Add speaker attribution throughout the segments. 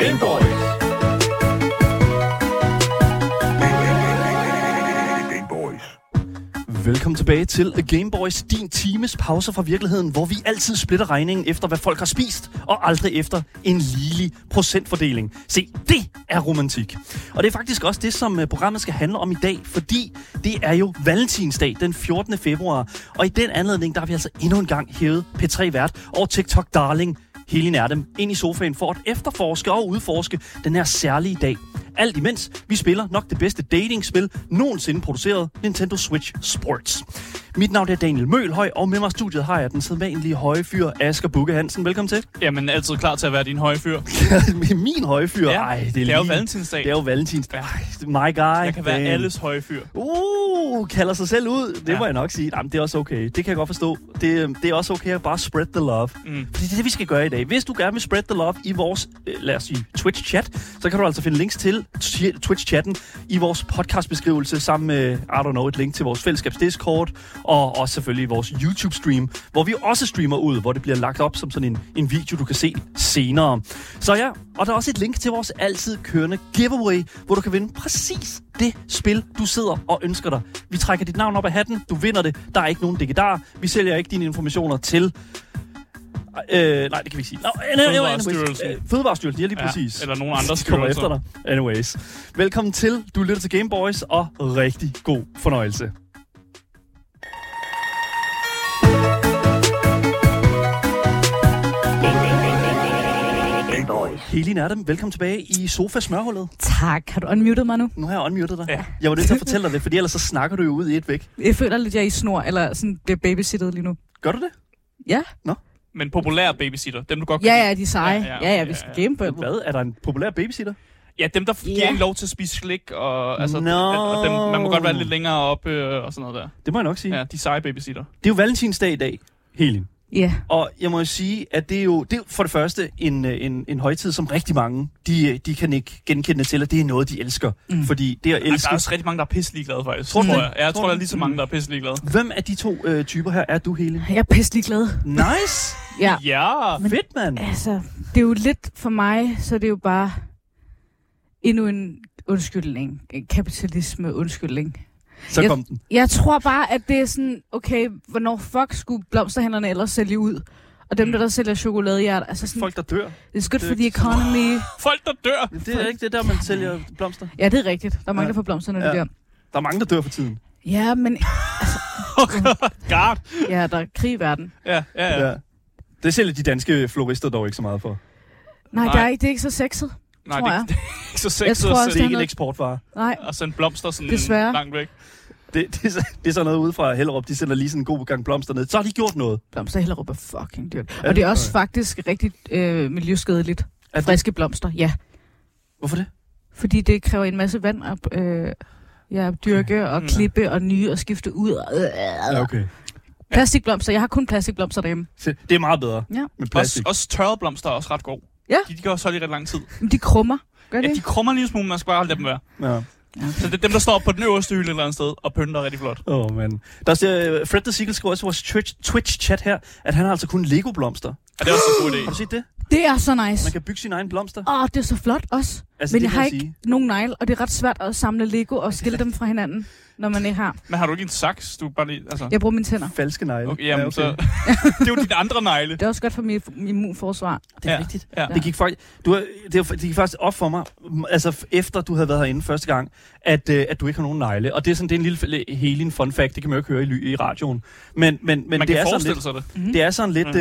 Speaker 1: Game Boys. Game Boys.
Speaker 2: Velkommen tilbage til A Game Boys, din times pause fra virkeligheden, hvor vi altid splitter regningen efter, hvad folk har spist, og aldrig efter en ligelig procentfordeling. Se, det er romantik. Og det er faktisk også det, som øh, programmet skal handle om i dag, fordi det er jo valentinsdag den 14. februar, og i den anledning, der har vi altså endnu en gang hævet P3-vært og TikTok-darling Helene Erdem ind i sofaen for at efterforske og udforske den her særlige dag. Alt imens vi spiller nok det bedste datingspil nogensinde produceret, Nintendo Switch Sports. Mit navn er Daniel Mølhøj, og med mig i studiet har jeg den sædvanlige høje fyr, Asger Bukke Hansen. Velkommen til.
Speaker 3: Jamen, altid klar til at være din høje fyr.
Speaker 2: Min høje fyr.
Speaker 3: Ja,
Speaker 2: Ej, det er,
Speaker 3: det er
Speaker 2: lige-
Speaker 3: jo valentinsdag.
Speaker 2: Det er jo valentinsdag.
Speaker 3: Ja.
Speaker 2: Ej, My guy.
Speaker 3: Jeg kan være
Speaker 2: damn.
Speaker 3: alles høje fyr.
Speaker 2: Uh, kalder sig selv ud. Det ja.
Speaker 3: Ja.
Speaker 2: må jeg nok sige. Jamen, det er også okay. Det kan jeg godt forstå. Det, øhm, det er også okay at bare spread the love. Mm.
Speaker 3: Mm.
Speaker 2: Fordi det er det, vi skal gøre i dag. Hvis du gerne vil spread the love i vores, øh, lad os sige, Twitch-chat, så kan du altså finde links til t- Twitch-chatten i vores podcastbeskrivelse, sammen med, I don't know, et link til vores fællesskabs Discord, og også selvfølgelig vores YouTube-stream, hvor vi også streamer ud, hvor det bliver lagt op som sådan en, en video, du kan se senere. Så ja, og der er også et link til vores altid kørende giveaway, hvor du kan vinde præcis det spil, du sidder og ønsker dig. Vi trækker dit navn op af hatten, du vinder det, der er ikke nogen digedar, vi sælger ikke dine informationer til... Øh, nej, det kan vi ikke sige. Nå, anyway, anyways.
Speaker 3: Fødevarestyrelsen.
Speaker 2: Øh, Fødevarestyrelsen, ja lige
Speaker 3: Ja,
Speaker 2: præcis.
Speaker 3: eller nogen andre
Speaker 2: De kommer
Speaker 3: styrelser.
Speaker 2: efter dig. Anyways. Velkommen til. Du lytter til Game Boys, og rigtig god fornøjelse.
Speaker 1: Game Boys.
Speaker 2: Helene Erdem, velkommen tilbage i sofa-smørhullet.
Speaker 4: Tak. Har du unmuted mig nu?
Speaker 2: Nu har jeg unmuted dig.
Speaker 3: Ja.
Speaker 2: Jeg var nødt til at fortælle dig det, fordi ellers så snakker du jo ud i et væk.
Speaker 4: Jeg føler lidt, jeg er i snor, eller sådan bliver babysittet lige nu.
Speaker 2: Gør du det?
Speaker 4: Ja?
Speaker 3: Men populære babysitter. Dem, du godt kan
Speaker 4: Ja,
Speaker 3: lide.
Speaker 4: ja, de er seje.
Speaker 3: Ja,
Speaker 4: Ja,
Speaker 3: ja,
Speaker 4: ja,
Speaker 3: ja,
Speaker 4: vi skal
Speaker 3: ja.
Speaker 4: game på dem.
Speaker 2: Hvad? Er der en populær babysitter?
Speaker 3: ja, dem, der giver
Speaker 4: Ja.
Speaker 3: en lov til at spise slik. Og, altså,
Speaker 2: Nå.
Speaker 3: og dem, man må godt være lidt længere op øh, og sådan noget der.
Speaker 2: Det må jeg nok sige. Ja.
Speaker 3: Ja, de seje babysitter.
Speaker 2: Det er jo valentinsdag i dag, Helene.
Speaker 4: Ja.
Speaker 2: Og jeg må jo sige, at det er jo det er jo for det første en, øh, en, en højtid, som rigtig mange de, øh, de kan ikke genkende til, at det er noget, de elsker. Mm. Fordi det at
Speaker 3: Ej, der
Speaker 2: elske...
Speaker 3: er også rigtig mange, der er pisselig glade, faktisk.
Speaker 2: Tror du
Speaker 3: Tror, tror
Speaker 2: det?
Speaker 3: jeg. Ja, jeg
Speaker 2: Tror
Speaker 3: tror, der
Speaker 2: du?
Speaker 3: er lige så mange, der er pisselig glade.
Speaker 2: Hvem af de to øh, typer her er du, Helene?
Speaker 4: Jeg er pisselig glad.
Speaker 2: Nice!
Speaker 4: Ja.
Speaker 3: Ja.
Speaker 2: Fedt, mand!
Speaker 4: Altså, det er jo lidt for mig, så det er jo bare endnu en undskyldning. En kapitalisme-undskyldning.
Speaker 2: Så
Speaker 4: Jeg-
Speaker 2: kom den.
Speaker 4: Jeg tror bare, at det er sådan, okay, hvornår fuck skulle blomsterhandlerne ellers sælge ud? Og dem, der, der sælger chokoladehjerter, altså sådan,
Speaker 2: Mm. Folk, der dør.
Speaker 4: it's good
Speaker 2: det-
Speaker 4: for the economy.
Speaker 3: Folk, der dør.
Speaker 2: Det er ikke det der, man sælger blomster.
Speaker 4: Ja, det er rigtigt. Der er mange,
Speaker 2: Ja.
Speaker 4: der får blomster, når de
Speaker 2: Ja.
Speaker 4: dør.
Speaker 2: Der er mange, der dør for tiden.
Speaker 4: Ja, men
Speaker 3: Guard.
Speaker 4: ja, der er krig i verden.
Speaker 3: Ja, ja, ja. ja.
Speaker 2: Det sælger de danske florister dog ikke så meget for.
Speaker 4: Nej,
Speaker 3: Nej.
Speaker 4: Nej. Der er, ikke- det er ikke så sexet.
Speaker 3: Nej,
Speaker 4: tror
Speaker 3: det, er
Speaker 4: jeg.
Speaker 3: ikke- det er ikke så
Speaker 4: Jeg
Speaker 3: sexet
Speaker 4: tror
Speaker 3: at
Speaker 4: også,
Speaker 2: Det er
Speaker 3: sende,
Speaker 2: ikke en eksportvare.
Speaker 4: Nej,
Speaker 3: at sende blomster sådan
Speaker 4: Desværre.
Speaker 3: langt væk.
Speaker 2: Det, det, er så- det er sådan noget ude fra Hellerup. De sender lige sådan en god gang blomster ned. Så har de gjort noget.
Speaker 4: blomster i Hellerup er fucking dyrt.
Speaker 2: Ja,
Speaker 4: Og det er
Speaker 2: det
Speaker 4: også
Speaker 2: tror
Speaker 4: faktisk rigtig øh, miljøskadeligt.
Speaker 2: det?
Speaker 4: Friske blomster, ja.
Speaker 2: Hvorfor det?
Speaker 4: Fordi det kræver en masse vand at øh, ja, dyrke og
Speaker 3: Mm.
Speaker 4: klippe og nye og skifte ud. Øh,
Speaker 2: okay.
Speaker 4: Plastikblomster, jeg har kun plastikblomster derhjemme.
Speaker 2: Så Det er meget bedre
Speaker 4: Ja.
Speaker 2: med
Speaker 3: Også,
Speaker 2: plastik.
Speaker 3: også tørrede blomster er også ret gode.
Speaker 4: Ja.
Speaker 3: De, de kan også holde i ret lang tid.
Speaker 4: Men de krummer, gør det
Speaker 3: Ja, de
Speaker 4: ikke?
Speaker 3: krummer en lille smule, man skal bare lade dem være.
Speaker 2: Ja.
Speaker 3: Så det er dem, der står på den øverste hylde et eller andet sted og pynter rigtig flot.
Speaker 2: Åh, oh, mand. Der er, Fred the Seagull skriver også i vores Twitch- Twitch-chat her, at han har altså kun Lego-blomster.
Speaker 3: Er det er også en god idé?
Speaker 2: Har du set det?
Speaker 4: Det er så nice.
Speaker 2: Man kan bygge sine egne blomster.
Speaker 4: Åh, det er så flot også.
Speaker 2: Altså,
Speaker 4: Altså, Men
Speaker 2: det
Speaker 4: jeg
Speaker 2: vil
Speaker 4: har
Speaker 2: jeg
Speaker 4: ikke
Speaker 2: sige.
Speaker 4: nogen negle, og det er ret svært at samle Lego og skille dem fra hinanden, når man ikke har.
Speaker 3: Men har du ikke en saks? Du er bare lige, altså...
Speaker 4: Jeg bruger mine tænder.
Speaker 2: Falske negle.
Speaker 3: Okay, jamen, så... det er jo dine andre negle.
Speaker 4: Det er også godt for mit mit immunforsvar.
Speaker 2: Det er
Speaker 3: Ja.
Speaker 2: rigtigt.
Speaker 3: Ja.
Speaker 2: Det gik, faktisk, du, har- det, var- det gik faktisk op for mig, m- altså f- efter du havde været herinde første gang, at, øh, at du ikke har nogen negle. Og det er sådan det er en lille helin fun fact, det kan man jo ikke høre i, ly- i radioen. Men, men, men
Speaker 3: Man
Speaker 2: det,
Speaker 3: kan
Speaker 2: er sådan
Speaker 3: forestille
Speaker 2: lidt,
Speaker 3: sig Mm. det.
Speaker 4: Mhm.
Speaker 2: det er sådan lidt,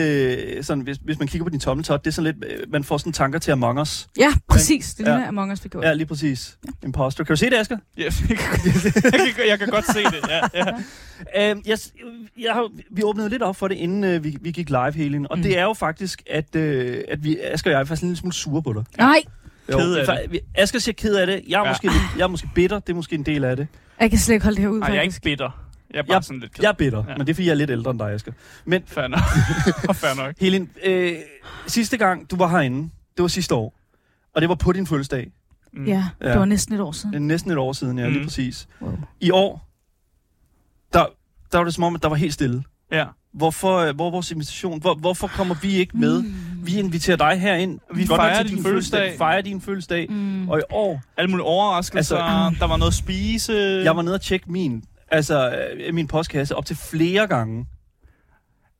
Speaker 2: øh, sådan, hvis, hvis man kigger på din tommeltot, det er sådan lidt, øh, man får sådan tanker til Among Us.
Speaker 4: Ja, præcis. Det
Speaker 2: Ja.
Speaker 4: ligner Among Us, vi gjorde.
Speaker 2: Ja, lige præcis. Imposter. Kan du se det, Asger?
Speaker 3: Ja, jeg, kan, jeg kan godt se det, ja. ja.
Speaker 2: Øhm, jeg, s- jeg har, vi åbnede lidt op for det, inden øh, vi, vi gik live, Helin. Og mm.
Speaker 4: Mm.
Speaker 2: det er jo faktisk, at, øh, at vi, Asger og jeg er faktisk en lille smule sure på dig.
Speaker 4: Nej,
Speaker 2: Jo,
Speaker 3: Ked af
Speaker 2: fa- vi- Asger siger ked af det. Jeg er, ja.
Speaker 3: Ja.
Speaker 2: måske, lidt- jeg er måske bitter. Det er måske en del af det.
Speaker 4: jeg kan slet ikke holde det her ud,
Speaker 3: Ej, jeg er
Speaker 4: faktisk.
Speaker 3: ikke bitter. Jeg er bare
Speaker 2: Jeg-
Speaker 3: sådan lidt ked.
Speaker 2: Jeg er bitter, ja.
Speaker 3: Ja.
Speaker 2: men det er, fordi jeg er lidt ældre end dig, Asger. Men
Speaker 3: Fair nok. Fair nok.
Speaker 2: Helin, øh, sidste gang, du var herinde, det var sidste år. Og det var på din fødselsdag.
Speaker 3: Mm.
Speaker 4: Ja,
Speaker 2: Ja.
Speaker 4: det var næsten et år siden.
Speaker 2: Det er næsten et år siden, ja, mm. lige
Speaker 3: Mm.
Speaker 2: præcis.
Speaker 4: Wow.
Speaker 2: I år, der, der var det som om, at der var helt stille.
Speaker 3: Ja.
Speaker 2: Hvorfor, øh, hvor er vores invitation? Hvor, hvorfor kommer vi ikke med?
Speaker 4: Mm.
Speaker 2: Vi inviterer dig herind.
Speaker 3: Vi
Speaker 2: Godt nok
Speaker 3: fejrer
Speaker 2: til
Speaker 3: din fødselsdag. Mhm.
Speaker 2: Fejrer din fødselsdag.
Speaker 4: Mm.
Speaker 2: Og i år,
Speaker 3: Alle mulige overraskelser.
Speaker 4: Altså-
Speaker 3: Altså, der var noget at spise.
Speaker 2: ah. jeg var nede og tjekke min, altså, øh, min postkasse op til flere gange.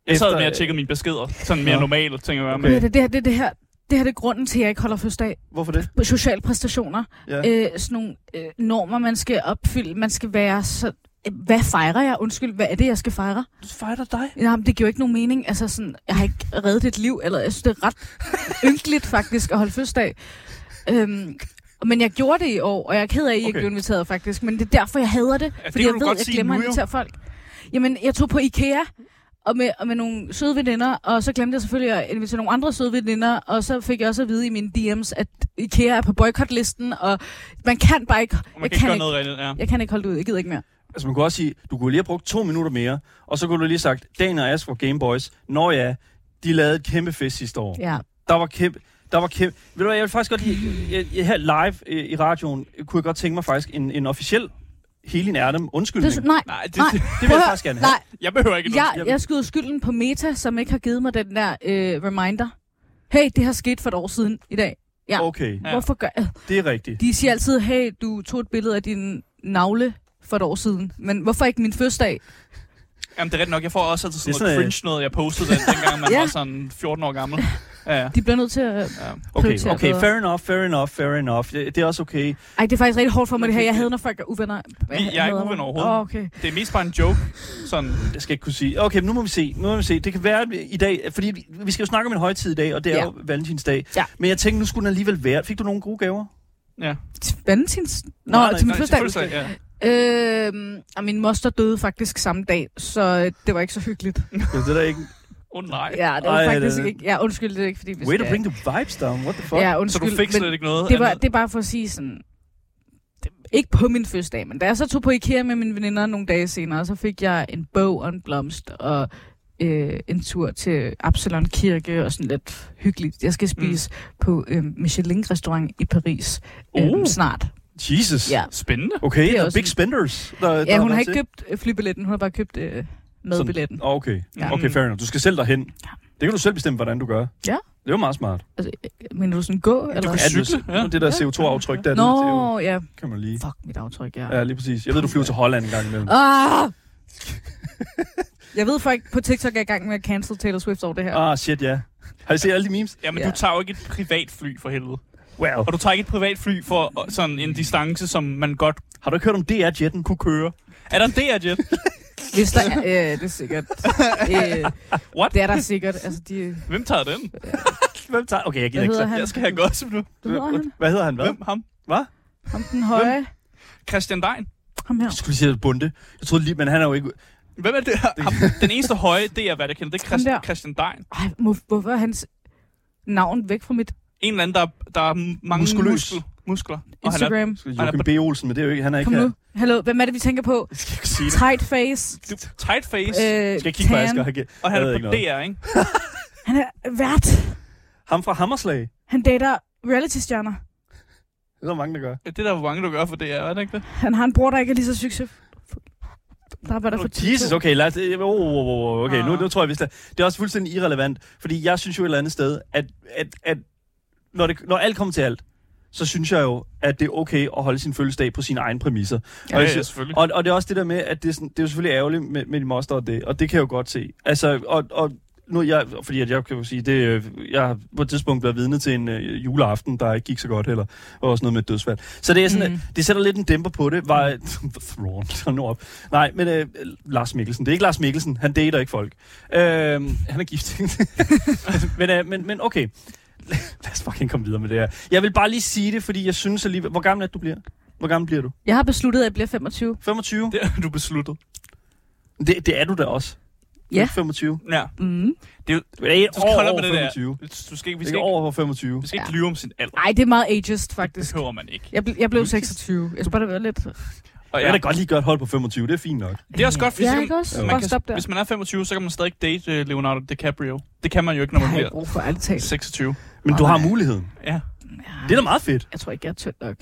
Speaker 3: jeg sad
Speaker 2: efter-
Speaker 3: med at tjekke mine beskeder. Sådan mere
Speaker 2: Nå.
Speaker 3: normalt, tænker jeg.
Speaker 2: Okay.
Speaker 3: Okay.
Speaker 4: Ved du, Det, her, det, er det, her, det her det er grunden til, at jeg ikke holder fødselsdag.
Speaker 2: Hvorfor det?
Speaker 4: Sociale præstationer.
Speaker 2: Ja.
Speaker 4: øh, sådan nogle øh, normer, man skal opfylde. Man skal være så... øh, Hvad fejrer jeg? Undskyld, hvad er det, jeg skal fejre?
Speaker 2: Du fejrer dig.
Speaker 4: Jamen, det giver jo ikke nogen mening. Altså, sådan, jeg har ikke reddet dit liv, eller jeg synes, det er ret ynkeligt faktisk at holde fødselsdag. Øhm, men jeg gjorde det i år, og jeg er ked af, at I okay. ikke
Speaker 2: Okay.
Speaker 4: blev inviteret faktisk. Men det er derfor, jeg hader det.
Speaker 3: det
Speaker 4: fordi
Speaker 3: kan
Speaker 4: jeg
Speaker 3: du
Speaker 4: ved,
Speaker 3: godt
Speaker 4: jeg
Speaker 3: sige
Speaker 4: glemmer
Speaker 3: nu,
Speaker 4: at
Speaker 3: jo.
Speaker 4: invitere folk. Jamen, jeg tog på Ikea, og med, og med nogle søde veninder, og så glemte jeg selvfølgelig at invitere nogle andre søde veninder, og så fik jeg også at vide i mine DM's, at Ikea er på boykotlisten, og man kan bare ikke...
Speaker 3: Man kan
Speaker 4: jeg,
Speaker 3: ikke
Speaker 4: kan
Speaker 3: gøre
Speaker 4: ikke,
Speaker 3: noget rigtigt, ja.
Speaker 4: jeg kan ikke holde det ud, jeg gider ikke mere.
Speaker 2: Altså man kunne også sige, du kunne lige have brugt to minutter mere, og så kunne du lige have sagt, Dan og Ask var Game Boys. Nå ja, de lavede et kæmpe fest sidste år.
Speaker 4: Ja.
Speaker 2: Der var kæmpe... Der var kæmpe... Ved du hvad, jeg vil faktisk godt lige... Jeg, jeg, her live øh, i radioen øh, kunne jeg godt tænke mig faktisk en, en officiel Helin Erdem undskyldning.
Speaker 4: Det,
Speaker 2: Det,
Speaker 4: nej,
Speaker 3: Nej, det,
Speaker 4: nej.
Speaker 2: vil jeg
Speaker 4: prøv-
Speaker 2: faktisk gerne have.
Speaker 4: Nej,
Speaker 3: jeg behøver ikke noget.
Speaker 4: Jeg, jeg skyder skylden på Meta, som ikke har givet mig den der øh, reminder. Hey, det her skete for et år siden i dag. Ja.
Speaker 2: Okay,
Speaker 4: Ja.
Speaker 3: Ja.
Speaker 4: Hvorfor gør jeg?
Speaker 2: det er rigtigt.
Speaker 4: De siger altid, hey, du tog et billede af din navle for et år siden. Men hvorfor ikke min fødselsdag?
Speaker 3: Jamen, det er rigtigt nok. Jeg får også altid sådan,
Speaker 2: Det er
Speaker 3: noget
Speaker 2: sådan, øh,
Speaker 3: cringe noget. Jeg postede den, dengang man
Speaker 4: Ja.
Speaker 3: var sådan 14 år gammel. Ja, ja.
Speaker 4: De bliver nødt til at...
Speaker 3: ja.
Speaker 2: Okay,
Speaker 4: prioritere
Speaker 2: okay,
Speaker 4: bedre.
Speaker 2: fair enough, fair enough, fair enough. Det, det er også okay.
Speaker 4: Ej, det er faktisk rigtig hårdt for mig, det her. Jeg
Speaker 3: Okay.
Speaker 4: hader, når folk er uvenner.
Speaker 3: jeg er ikke
Speaker 4: hader
Speaker 3: uven
Speaker 4: mig.
Speaker 3: overhovedet.
Speaker 4: Åh, okay.
Speaker 3: Det er mest bare en joke. Sådan,
Speaker 2: Jeg skal ikke kunne sige. Okay, men nu må vi se. Nu må vi se. Det kan være at vi- i dag, fordi vi- vi skal jo snakke om en højtid i dag, og det er
Speaker 4: Ja.
Speaker 2: ja. jo valentinsdag.
Speaker 4: Ja.
Speaker 2: Men jeg tænkte, nu skulle den alligevel være. Fik du nogle gode gaver?
Speaker 3: ja.
Speaker 4: Valentins... Nå,
Speaker 2: Nej, nej,
Speaker 4: til min
Speaker 3: Nej,
Speaker 4: fødselsdag.
Speaker 3: fødselsdag, ja.
Speaker 4: Øhm, og min moster døde faktisk samme dag, så øh, det var ikke så hyggeligt.
Speaker 2: Ja, det er der ikke.
Speaker 3: Oh, nej.
Speaker 4: Ja, det var
Speaker 2: Ej,
Speaker 4: faktisk
Speaker 2: det-
Speaker 4: ikke... Ja, undskyld, det er ikke, fordi vi
Speaker 2: Way
Speaker 4: skal...
Speaker 2: to bring the vibes down. What the fuck?
Speaker 4: Ja,
Speaker 3: Så
Speaker 4: undskyld,
Speaker 3: du fik
Speaker 4: men-
Speaker 3: slet ikke noget
Speaker 4: det var,
Speaker 3: andet?
Speaker 4: det er bare for at sige sådan... det- Ikke på min fødselsdag, men da jeg så tog på IKEA med mine veninder nogle dage senere, så fik jeg en bog og en blomst og øh, en tur til Absalon Kirke og sådan lidt hyggeligt. Jeg skal spise mm. på øh, Michelin-restaurant i Paris øh,
Speaker 2: Uh.
Speaker 4: snart.
Speaker 2: Jesus.
Speaker 4: Ja.
Speaker 3: Spændende.
Speaker 2: Okay,
Speaker 4: Det er
Speaker 2: det er
Speaker 4: også
Speaker 2: big
Speaker 4: en-
Speaker 2: spenders. Der, der
Speaker 4: Ja, hun har
Speaker 2: været
Speaker 4: ikke
Speaker 2: til.
Speaker 4: købt øh, flybilletten, hun har bare købt øh, madbilletten.
Speaker 2: Sådan- Okay.
Speaker 4: Ja.
Speaker 2: Ja. okay, fair enough. Du skal selv derhen. Det kan du selv bestemme, hvordan du gør. Det
Speaker 4: Ja.
Speaker 2: er jo meget smart.
Speaker 4: Altså, øh, mener du sådan gå? Eller?
Speaker 3: kan
Speaker 2: det,
Speaker 3: cykle,
Speaker 2: ja.
Speaker 3: ja.
Speaker 2: det der CO2-aftryk, der, det, det er jo,
Speaker 4: Nå, ja.
Speaker 2: kan man lige.
Speaker 4: Fuck mit aftryk, ja.
Speaker 2: Ja, lige præcis. Jeg ved, du flyver til Holland en gang imellem.
Speaker 4: Ah! Jeg ved folk på TikTok er i gang med at cancel Taylor Swift over det her.
Speaker 2: Ah, shit, ja. Har I set alle de memes?
Speaker 3: Jamen,
Speaker 4: Ja.
Speaker 3: du tager jo ikke et privat fly for helvede.
Speaker 2: Wow.
Speaker 3: Og du tager ikke et privat fly for øh, sådan en distance, som man godt
Speaker 2: Har du ikke hørt om DR-jetten?
Speaker 3: kunne køre. Er der en DR-jet?
Speaker 4: Hvis der er, øh, det er sikkert. Øh,
Speaker 3: What?
Speaker 4: Det er der sikkert. Altså, de,
Speaker 3: Hvem tager den?
Speaker 2: Hvem tager? Okay, jeg gider
Speaker 4: Hvad
Speaker 2: ikke
Speaker 4: hedder
Speaker 2: så.
Speaker 4: han?
Speaker 3: Jeg skal have gossip nu.
Speaker 4: Hvad hedder han?
Speaker 2: Hvad hedder han? Hvad?
Speaker 3: Hvem? Ham?
Speaker 4: Ham den høje.
Speaker 3: Christian Dein.
Speaker 4: Ham her.
Speaker 2: Jeg skulle lige sige, at det er bunde. Jeg troede lige, men han er jo ikke...
Speaker 3: Hvem er det? Ham, den eneste høje, det er, hvad jeg kender, det er
Speaker 4: Ham der.
Speaker 3: Christ, Christian Dein.
Speaker 4: Ej, må, hvorfor er hans navn væk fra mit
Speaker 3: En eller anden, der, der er mange
Speaker 2: Muskuløs.
Speaker 3: muskler. muskler. Og han er,
Speaker 4: Instagram?
Speaker 3: Han er
Speaker 2: Joachim B. Olsen, men det er jo ikke... Han er
Speaker 4: Kom
Speaker 2: ikke her.
Speaker 4: nu. Hallo, hvem er det, vi tænker på?
Speaker 2: Jeg skal ikke sige det.
Speaker 4: Tight face.
Speaker 3: du, tight face,
Speaker 4: Øh,
Speaker 2: Jeg skal kigge på
Speaker 4: tan.
Speaker 2: Asger. Han kan-
Speaker 3: og han
Speaker 2: jeg
Speaker 3: er
Speaker 2: ved
Speaker 3: på
Speaker 2: ikke noget.
Speaker 3: DR, ikke?
Speaker 4: Han er vært.
Speaker 2: Ham fra Hammerslag.
Speaker 4: Han dater reality-stjerner.
Speaker 2: Det er der mange, der gør.
Speaker 3: Det er der, hvor mange du gør for DR, er det ikke det?
Speaker 4: Han har en bror, der ikke er lige så succesfuld. Der arbejder for TikTok.
Speaker 2: Jesus, okay, lad os, øh, oh, oh, oh, oh, okay, nu,
Speaker 3: Ah.
Speaker 2: nu tror jeg, vist, det det er også fuldstændig irrelevant, fordi jeg synes jo et eller andet sted, at, at, at når, det, når alt kommer til alt, så synes jeg jo, at det er okay at holde sin fødselsdag på sine egne præmisser.
Speaker 3: Ja,
Speaker 2: og,
Speaker 3: ja,
Speaker 2: jeg synes,
Speaker 3: selvfølgelig.
Speaker 2: Mm. og, og det er også det der med, at det er, sådan, det er jo selvfølgelig ærgerligt med, med de moster og det, og det kan jeg jo godt se. Altså, og, og nu er jeg, fordi at jeg kan jo sige, det, øh, jeg har på et tidspunkt været vidne til en øh, juleaften, der ikke gik så godt heller, og også noget med et dødsfald. Så det er sådan,
Speaker 4: Mm.
Speaker 2: mm. at, det sætter lidt en dæmper på det. Var, Thrawn, hold nu op. Nej, men øh, Lars Mikkelsen, det er ikke Lars Mikkelsen, han dater ikke folk. Øh, han er gift. men, øh, men, men okay, lad os fucking komme videre med det her. Jeg vil bare lige sige det, fordi jeg synes alligevel, hvor gammel er det, du bliver? Hvor gammel bliver du?
Speaker 4: Jeg har besluttet, at jeg bliver 25.
Speaker 2: 25?
Speaker 3: Det har du besluttet.
Speaker 2: Det, det er du da også. Du er
Speaker 4: Ja.
Speaker 2: ikke 25.
Speaker 3: Ja.
Speaker 4: Mm.
Speaker 2: Du er ikke
Speaker 3: Du skal holde
Speaker 2: over
Speaker 3: op med det
Speaker 2: 25.
Speaker 3: der. Du skal ikke, vi
Speaker 2: Vi
Speaker 3: skal
Speaker 2: skal
Speaker 3: ikke,
Speaker 2: over for 25.
Speaker 3: vi skal ikke lyve om sin alder.
Speaker 4: Ej, det er meget ageist,
Speaker 3: Det
Speaker 4: faktisk.
Speaker 3: behøver man ikke.
Speaker 4: Jeg, ble, jeg blev 26. Jeg synes bare, det var lidt...
Speaker 3: Og
Speaker 2: Jeg
Speaker 3: ja,
Speaker 2: kan da godt lige gøre et hold på 25, det er fint nok.
Speaker 3: det er også godt, fordi
Speaker 4: Ja,
Speaker 3: så kan-
Speaker 4: ikke også?
Speaker 3: man
Speaker 4: Bare
Speaker 3: kan-
Speaker 4: stop der.
Speaker 3: hvis man er 25, så kan man stadig ikke date øh, Leonardo DiCaprio. Det kan man jo ikke, når man
Speaker 4: Jeg har
Speaker 3: bliver
Speaker 4: ikke brug for alt talt.
Speaker 3: 26.
Speaker 2: Men du har muligheden.
Speaker 3: Ja.
Speaker 2: Det er da meget fedt.
Speaker 4: Jeg tror ikke, jeg er tynd nok.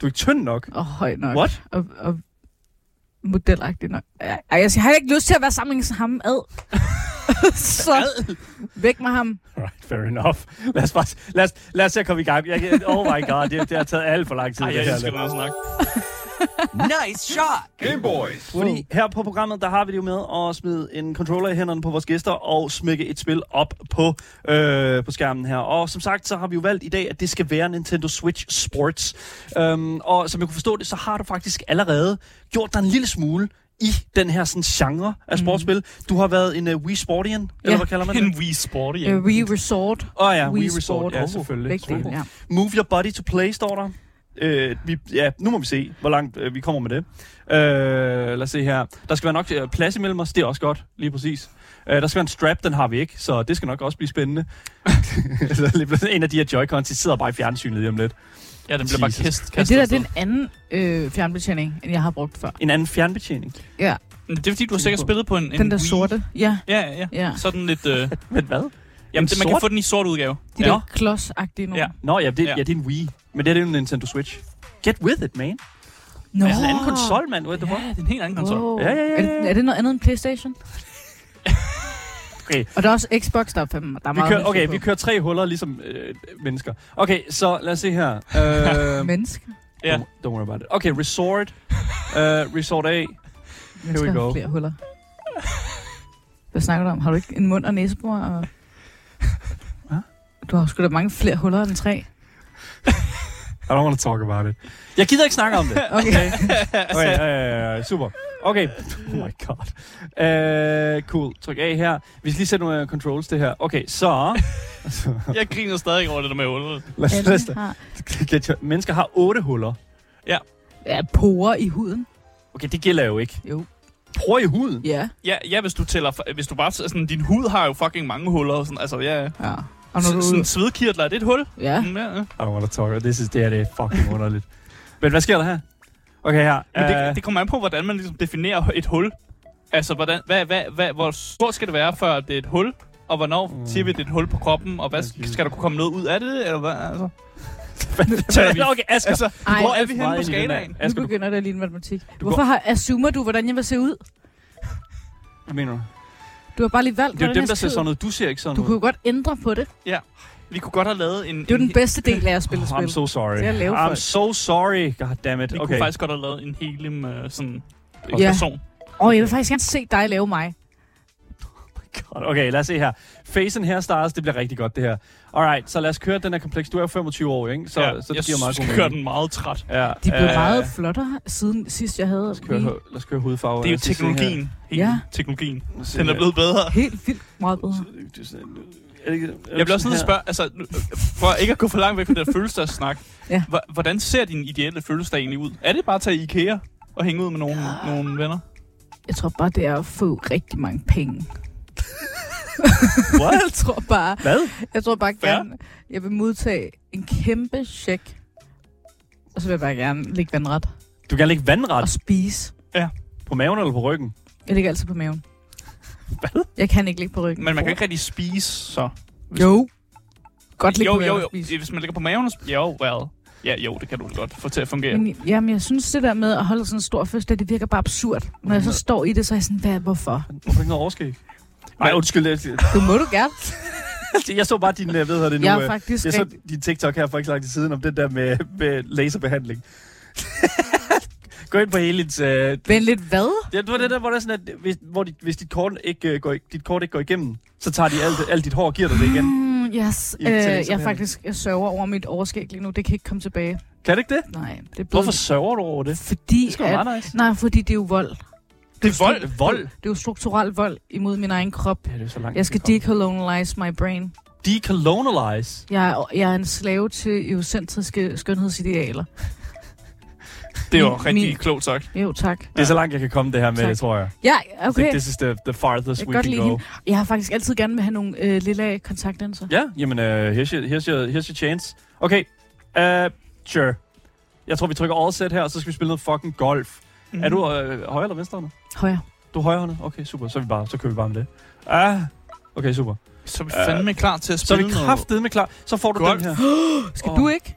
Speaker 2: Du er ikke tynd nok.
Speaker 4: Og høj nok.
Speaker 2: What?
Speaker 4: Og, og modelagtig nok. Ej, jeg, siger, har jeg ikke lyst til at være sammen med ham ad? så væk med ham.
Speaker 2: Right, fair enough. Lad os, bare, lad os, lad os se at komme i gang. Jeg, kan- oh my god, det, det har taget alt for lang tid.
Speaker 3: Ej,
Speaker 2: det
Speaker 3: jeg
Speaker 2: her.
Speaker 3: elsker den her snak.
Speaker 5: Nice shot.
Speaker 1: Game Boys.
Speaker 2: Fordi her på programmet, der har vi det jo med at smide en controller i hænderne på vores gæster og smække et spil op på, øh, på skærmen her. Og som sagt, så har vi jo valgt i dag, at det skal være Nintendo Switch Sports. Øhm, og som jeg kunne forstå det, så har du faktisk allerede gjort dig en lille smule i den her sådan, genre af sportsspil. Du har været en uh, Wii Sportian, ja. eller
Speaker 4: Mhm. Ja.
Speaker 2: hvad kalder man det?
Speaker 3: En Wii Sporty.
Speaker 4: Yeah. Uh, Wii Resort.
Speaker 2: Åh oh, ja,
Speaker 4: Wii
Speaker 2: Wii, Resort.
Speaker 4: Sport.
Speaker 2: Ja,
Speaker 4: Oh,
Speaker 2: selvfølgelig.
Speaker 4: Begge dele, ja.
Speaker 2: Move your body to play, står der. Øh, vi, ja, nu må vi se, hvor langt øh, vi kommer med det. Øh, lad os se her. Der skal være nok øh, plads imellem os, det er også godt, lige præcis. Øh, der skal være en strap, den har vi ikke, så det skal nok også blive spændende. Så lige pludselig en af de her Joy-Cons, de sidder bare i fjernsynet lige om lidt.
Speaker 3: Ja, den bliver bare
Speaker 2: Jesus.
Speaker 3: kast,
Speaker 4: Men
Speaker 3: kastet
Speaker 4: det der, det
Speaker 3: afsted.
Speaker 4: er en anden øh, fjernbetjening, end jeg har brugt før.
Speaker 2: En anden fjernbetjening.
Speaker 4: Ja,
Speaker 3: Men Det er fordi, du har sikkert spillet på en, en
Speaker 4: den der
Speaker 3: Wii.
Speaker 4: sorte. Ja,
Speaker 3: Ja, ja,
Speaker 4: Ja.
Speaker 3: ja. Sådan lidt... Øh,
Speaker 2: Men hvad?
Speaker 3: jamen, det, man kan
Speaker 2: sort?
Speaker 3: få den i sort udgave.
Speaker 4: de
Speaker 3: ja.
Speaker 4: der klods-agtige nogle.
Speaker 3: Ja.
Speaker 2: Nå, ja, det, ja.
Speaker 3: Ja.
Speaker 2: ja, det er en Wii. Men det her, det er jo en Nintendo Switch. Get with it, man.
Speaker 4: Nå.
Speaker 2: Det er Altså, en anden konsol, mand. What the fuck?
Speaker 3: Ja, det er en helt anden konsol.
Speaker 4: Wow.
Speaker 2: Ja, ja, ja,
Speaker 4: Er, det, er det noget andet end Playstation?
Speaker 2: Okay.
Speaker 4: Og der er også Xbox, der er, fem, der er
Speaker 2: Vi
Speaker 4: meget
Speaker 2: kører,
Speaker 4: mennesker
Speaker 2: okay,
Speaker 4: på.
Speaker 2: vi kører tre huller, ligesom øh, mennesker. Okay, så lad os se her. Øh,
Speaker 4: Mennesker.
Speaker 3: Ja.
Speaker 2: Don't, don't worry about it. Okay, Resort. uh, resort A.
Speaker 4: Mennesker
Speaker 2: we
Speaker 4: har
Speaker 2: go.
Speaker 4: flere huller. Hvad snakker du om? Har du ikke en mund og næsebor? Og...
Speaker 2: Hva?
Speaker 4: Du har sgu da mange flere huller end tre.
Speaker 2: I don't want to talk about it. Jeg gider ikke snakke om det.
Speaker 4: Okay.
Speaker 2: Okay, øh, super. Okay. Oh my god. Uh, cool. Tryk A her. Vi skal lige sætte nogle øh, controls til her. Okay, så...
Speaker 3: Jeg griner stadig over det der med hullet.
Speaker 2: lad os, lad os,
Speaker 4: Alle har
Speaker 2: get your, mennesker har otte huller.
Speaker 4: ja, porer i huden.
Speaker 2: Okay, det gælder jo ikke.
Speaker 4: Jo.
Speaker 2: Prøv i huden.
Speaker 4: Ja.
Speaker 3: Ja, ja, hvis du tæller... f- Hvis du bare... altså, Sådan, din hud har jo fucking mange huller. og Sådan, altså, ja.
Speaker 4: ja. Og når
Speaker 3: Så,
Speaker 4: du...
Speaker 3: sådan svedkirtler, er det et hul?
Speaker 4: Ja.
Speaker 3: Mm, ja,
Speaker 2: I
Speaker 3: ja.
Speaker 2: don't want to talk about this. Is, det her det er fucking underligt. Men hvad sker der her? Okay, her.
Speaker 3: Men
Speaker 2: øh,
Speaker 3: det, det kommer an på, hvordan man ligesom definerer et hul. Altså, hvordan, hvad, hvad, hvad, hvor stort skal det være, før det er et hul? Og hvornår
Speaker 2: Mm.
Speaker 3: mm. siger vi, at det er et hul på kroppen? Og hvad,
Speaker 2: Jesus.
Speaker 3: skal der kunne komme noget ud af det? Eller hvad, altså?
Speaker 2: Tæller vi- okay, Asger.
Speaker 3: Altså,
Speaker 4: Ej,
Speaker 3: hvor er vi henne
Speaker 2: Meget ind
Speaker 3: på
Speaker 2: i den her.
Speaker 3: skalaen?
Speaker 4: nu
Speaker 2: Asger, du,
Speaker 4: begynder det at ligne matematik. Hvorfor har, assumer du, hvordan jeg vil se ud?
Speaker 2: hvad mener du?
Speaker 4: Du har bare lige valgt,
Speaker 2: Det er jo
Speaker 4: hvordan
Speaker 2: dem, der
Speaker 4: jeg
Speaker 2: ser
Speaker 4: skal se
Speaker 2: sådan
Speaker 4: ud.
Speaker 2: noget. Du ser ikke sådan
Speaker 4: Du
Speaker 2: ud.
Speaker 4: kunne jo godt ændre på det.
Speaker 3: Vi kunne godt have lavet en...
Speaker 4: Det er jo
Speaker 3: en,
Speaker 4: den bedste del af at spille
Speaker 2: Oh,
Speaker 4: spil.
Speaker 2: I'm so sorry.
Speaker 4: Til at lave
Speaker 2: I'm
Speaker 4: folk.
Speaker 2: so sorry. God damn it.
Speaker 3: Vi okay.
Speaker 2: Okay.
Speaker 3: kunne faktisk godt have lavet en helim uh, sådan en
Speaker 4: Ja.
Speaker 3: person.
Speaker 4: Åh, oh, jeg vil faktisk gerne se dig lave mig.
Speaker 2: God, okay, lad os se her. Face and hairstyles, det bliver rigtig godt det her. Alright, så lad os køre den her kompleks. Du er jo 25 år, ikke? Så,
Speaker 3: ja,
Speaker 2: så
Speaker 3: jeg
Speaker 2: det giver meget god
Speaker 3: kører
Speaker 2: mening.
Speaker 3: den meget træt.
Speaker 2: Ja,
Speaker 4: De blev
Speaker 2: øh,
Speaker 4: meget flottere siden sidst, jeg havde
Speaker 2: Lad os køre,
Speaker 4: Wii.
Speaker 2: lad os køre hudfarve.
Speaker 3: Det er jo
Speaker 2: Lad os lige se
Speaker 3: teknologien. Helt
Speaker 4: Ja.
Speaker 3: Teknologien.
Speaker 2: her. Lad os se
Speaker 3: Den er
Speaker 2: her.
Speaker 3: blevet bedre.
Speaker 4: Helt vildt meget bedre.
Speaker 2: Det er sådan- er det ikke- er det
Speaker 3: Jeg bliver også nødt til
Speaker 2: sådan
Speaker 3: at spørge, altså, nu- for ikke at gå for langt væk fra det der følelsessnak,
Speaker 4: Ja.
Speaker 3: ja. hvordan ser din ideelle følelsesdag egentlig ud? Er det bare at tage i IKEA og hænge ud med nogle, ja. nogle venner?
Speaker 4: Jeg tror bare, det er at få rigtig mange penge.
Speaker 2: her? What?
Speaker 4: Jeg tror bare,
Speaker 2: Hvad?
Speaker 4: jeg tror bare
Speaker 3: Fair.
Speaker 4: gerne, jeg vil modtage en kæmpe check. Og så vil jeg bare gerne ligge vandret
Speaker 2: Du kan lægge vandret
Speaker 4: og spise.
Speaker 2: på maven eller på ryggen.
Speaker 4: Jeg ligger altid på maven. Hvad? Jeg kan ikke ligge på ryggen.
Speaker 3: Men man kan ikke rigtig spise, så...
Speaker 4: Jo. Godt ligge
Speaker 3: jo,
Speaker 4: på maven
Speaker 3: jo,
Speaker 4: og
Speaker 3: jo.
Speaker 4: spise.
Speaker 3: Hvis man ligger på maven og spiser... Jo, well. Ja, jo, det kan du godt få til at fungere.
Speaker 4: Men, jamen, jeg synes, det der med at holde sådan en stor fødselsdag, det virker bare absurd. Når
Speaker 3: Mhm.
Speaker 4: jeg så står i det, så er jeg sådan, hvad, hvorfor?
Speaker 2: Hvorfor ikke noget overskæg? Nej, undskyld. jeg-
Speaker 4: Du må du gerne.
Speaker 2: Jeg så bare din, øh, ved her det nu.
Speaker 4: Jeg
Speaker 2: øh,
Speaker 4: er faktisk
Speaker 2: Jeg
Speaker 4: rigtig...
Speaker 2: så din TikTok her for ikke så lang tid siden om det der med, med laserbehandling. Gå ind på Helins... Øh,
Speaker 4: Men lidt hvad?
Speaker 2: det var det der, hvor, der er sådan, at hvis, hvor dit, hvis dit, kort ikke, øh, går, i- dit kort ikke går igennem, så tager de alt, alt dit hår og giver dig det igen.
Speaker 4: Mm, yes.
Speaker 2: I
Speaker 4: Øh,
Speaker 2: taler
Speaker 4: jeg
Speaker 2: sådan
Speaker 4: er
Speaker 2: her.
Speaker 4: faktisk jeg sørger over mit overskæg lige nu. Det kan ikke komme tilbage.
Speaker 2: Kan det ikke det?
Speaker 4: Nej, det er blevet...
Speaker 2: Hvorfor sørger du over det?
Speaker 4: Fordi
Speaker 2: Det skal
Speaker 4: at,
Speaker 2: være meget nice.
Speaker 4: Nej, fordi det er jo vold.
Speaker 3: Det er vold.
Speaker 2: Vold?
Speaker 4: Det er jo strukturel vold imod min egen krop.
Speaker 2: Ja, det er så langt.
Speaker 4: Jeg skal
Speaker 2: de-
Speaker 4: decolonize my brain.
Speaker 2: decolonize.
Speaker 4: Jeg er, jeg er en slave til eurocentriske skønhedsidealer.
Speaker 3: Det er jo
Speaker 4: Min-
Speaker 3: rigtig
Speaker 4: min-
Speaker 3: klogt sagt.
Speaker 4: Jo, tak.
Speaker 2: Det er så langt, jeg kan komme det her med,
Speaker 4: Tak.
Speaker 2: det tror jeg.
Speaker 4: Ja,
Speaker 2: Okay.
Speaker 4: okay.
Speaker 2: This is the, the farthest
Speaker 4: Jeg kan
Speaker 2: we
Speaker 4: godt
Speaker 2: can
Speaker 4: lide
Speaker 2: go.
Speaker 4: hende. Jeg har faktisk altid gerne vil have nogle øh, lille kontaktlinser.
Speaker 2: Ja, jamen, uh, here's, your, here's, your, here's your chance. Okay, uh, sure. Jeg tror, vi trykker all set her, og så skal vi spille noget fucking golf.
Speaker 3: Mhm.
Speaker 2: Mm. Er du øh, højre eller venstre?
Speaker 4: Højre.
Speaker 2: Du er højrehåndet? Okay, super. Så, er vi bare, så kører vi bare med det. Ah, okay, super.
Speaker 3: Så er vi
Speaker 2: Øh,
Speaker 3: fandme klar til at
Speaker 2: Så er
Speaker 3: spille
Speaker 2: vi
Speaker 3: noget.
Speaker 2: kraftedeme klar. Så får du
Speaker 3: Golf.
Speaker 2: den her.
Speaker 4: Skal
Speaker 2: Åh.
Speaker 4: du ikke?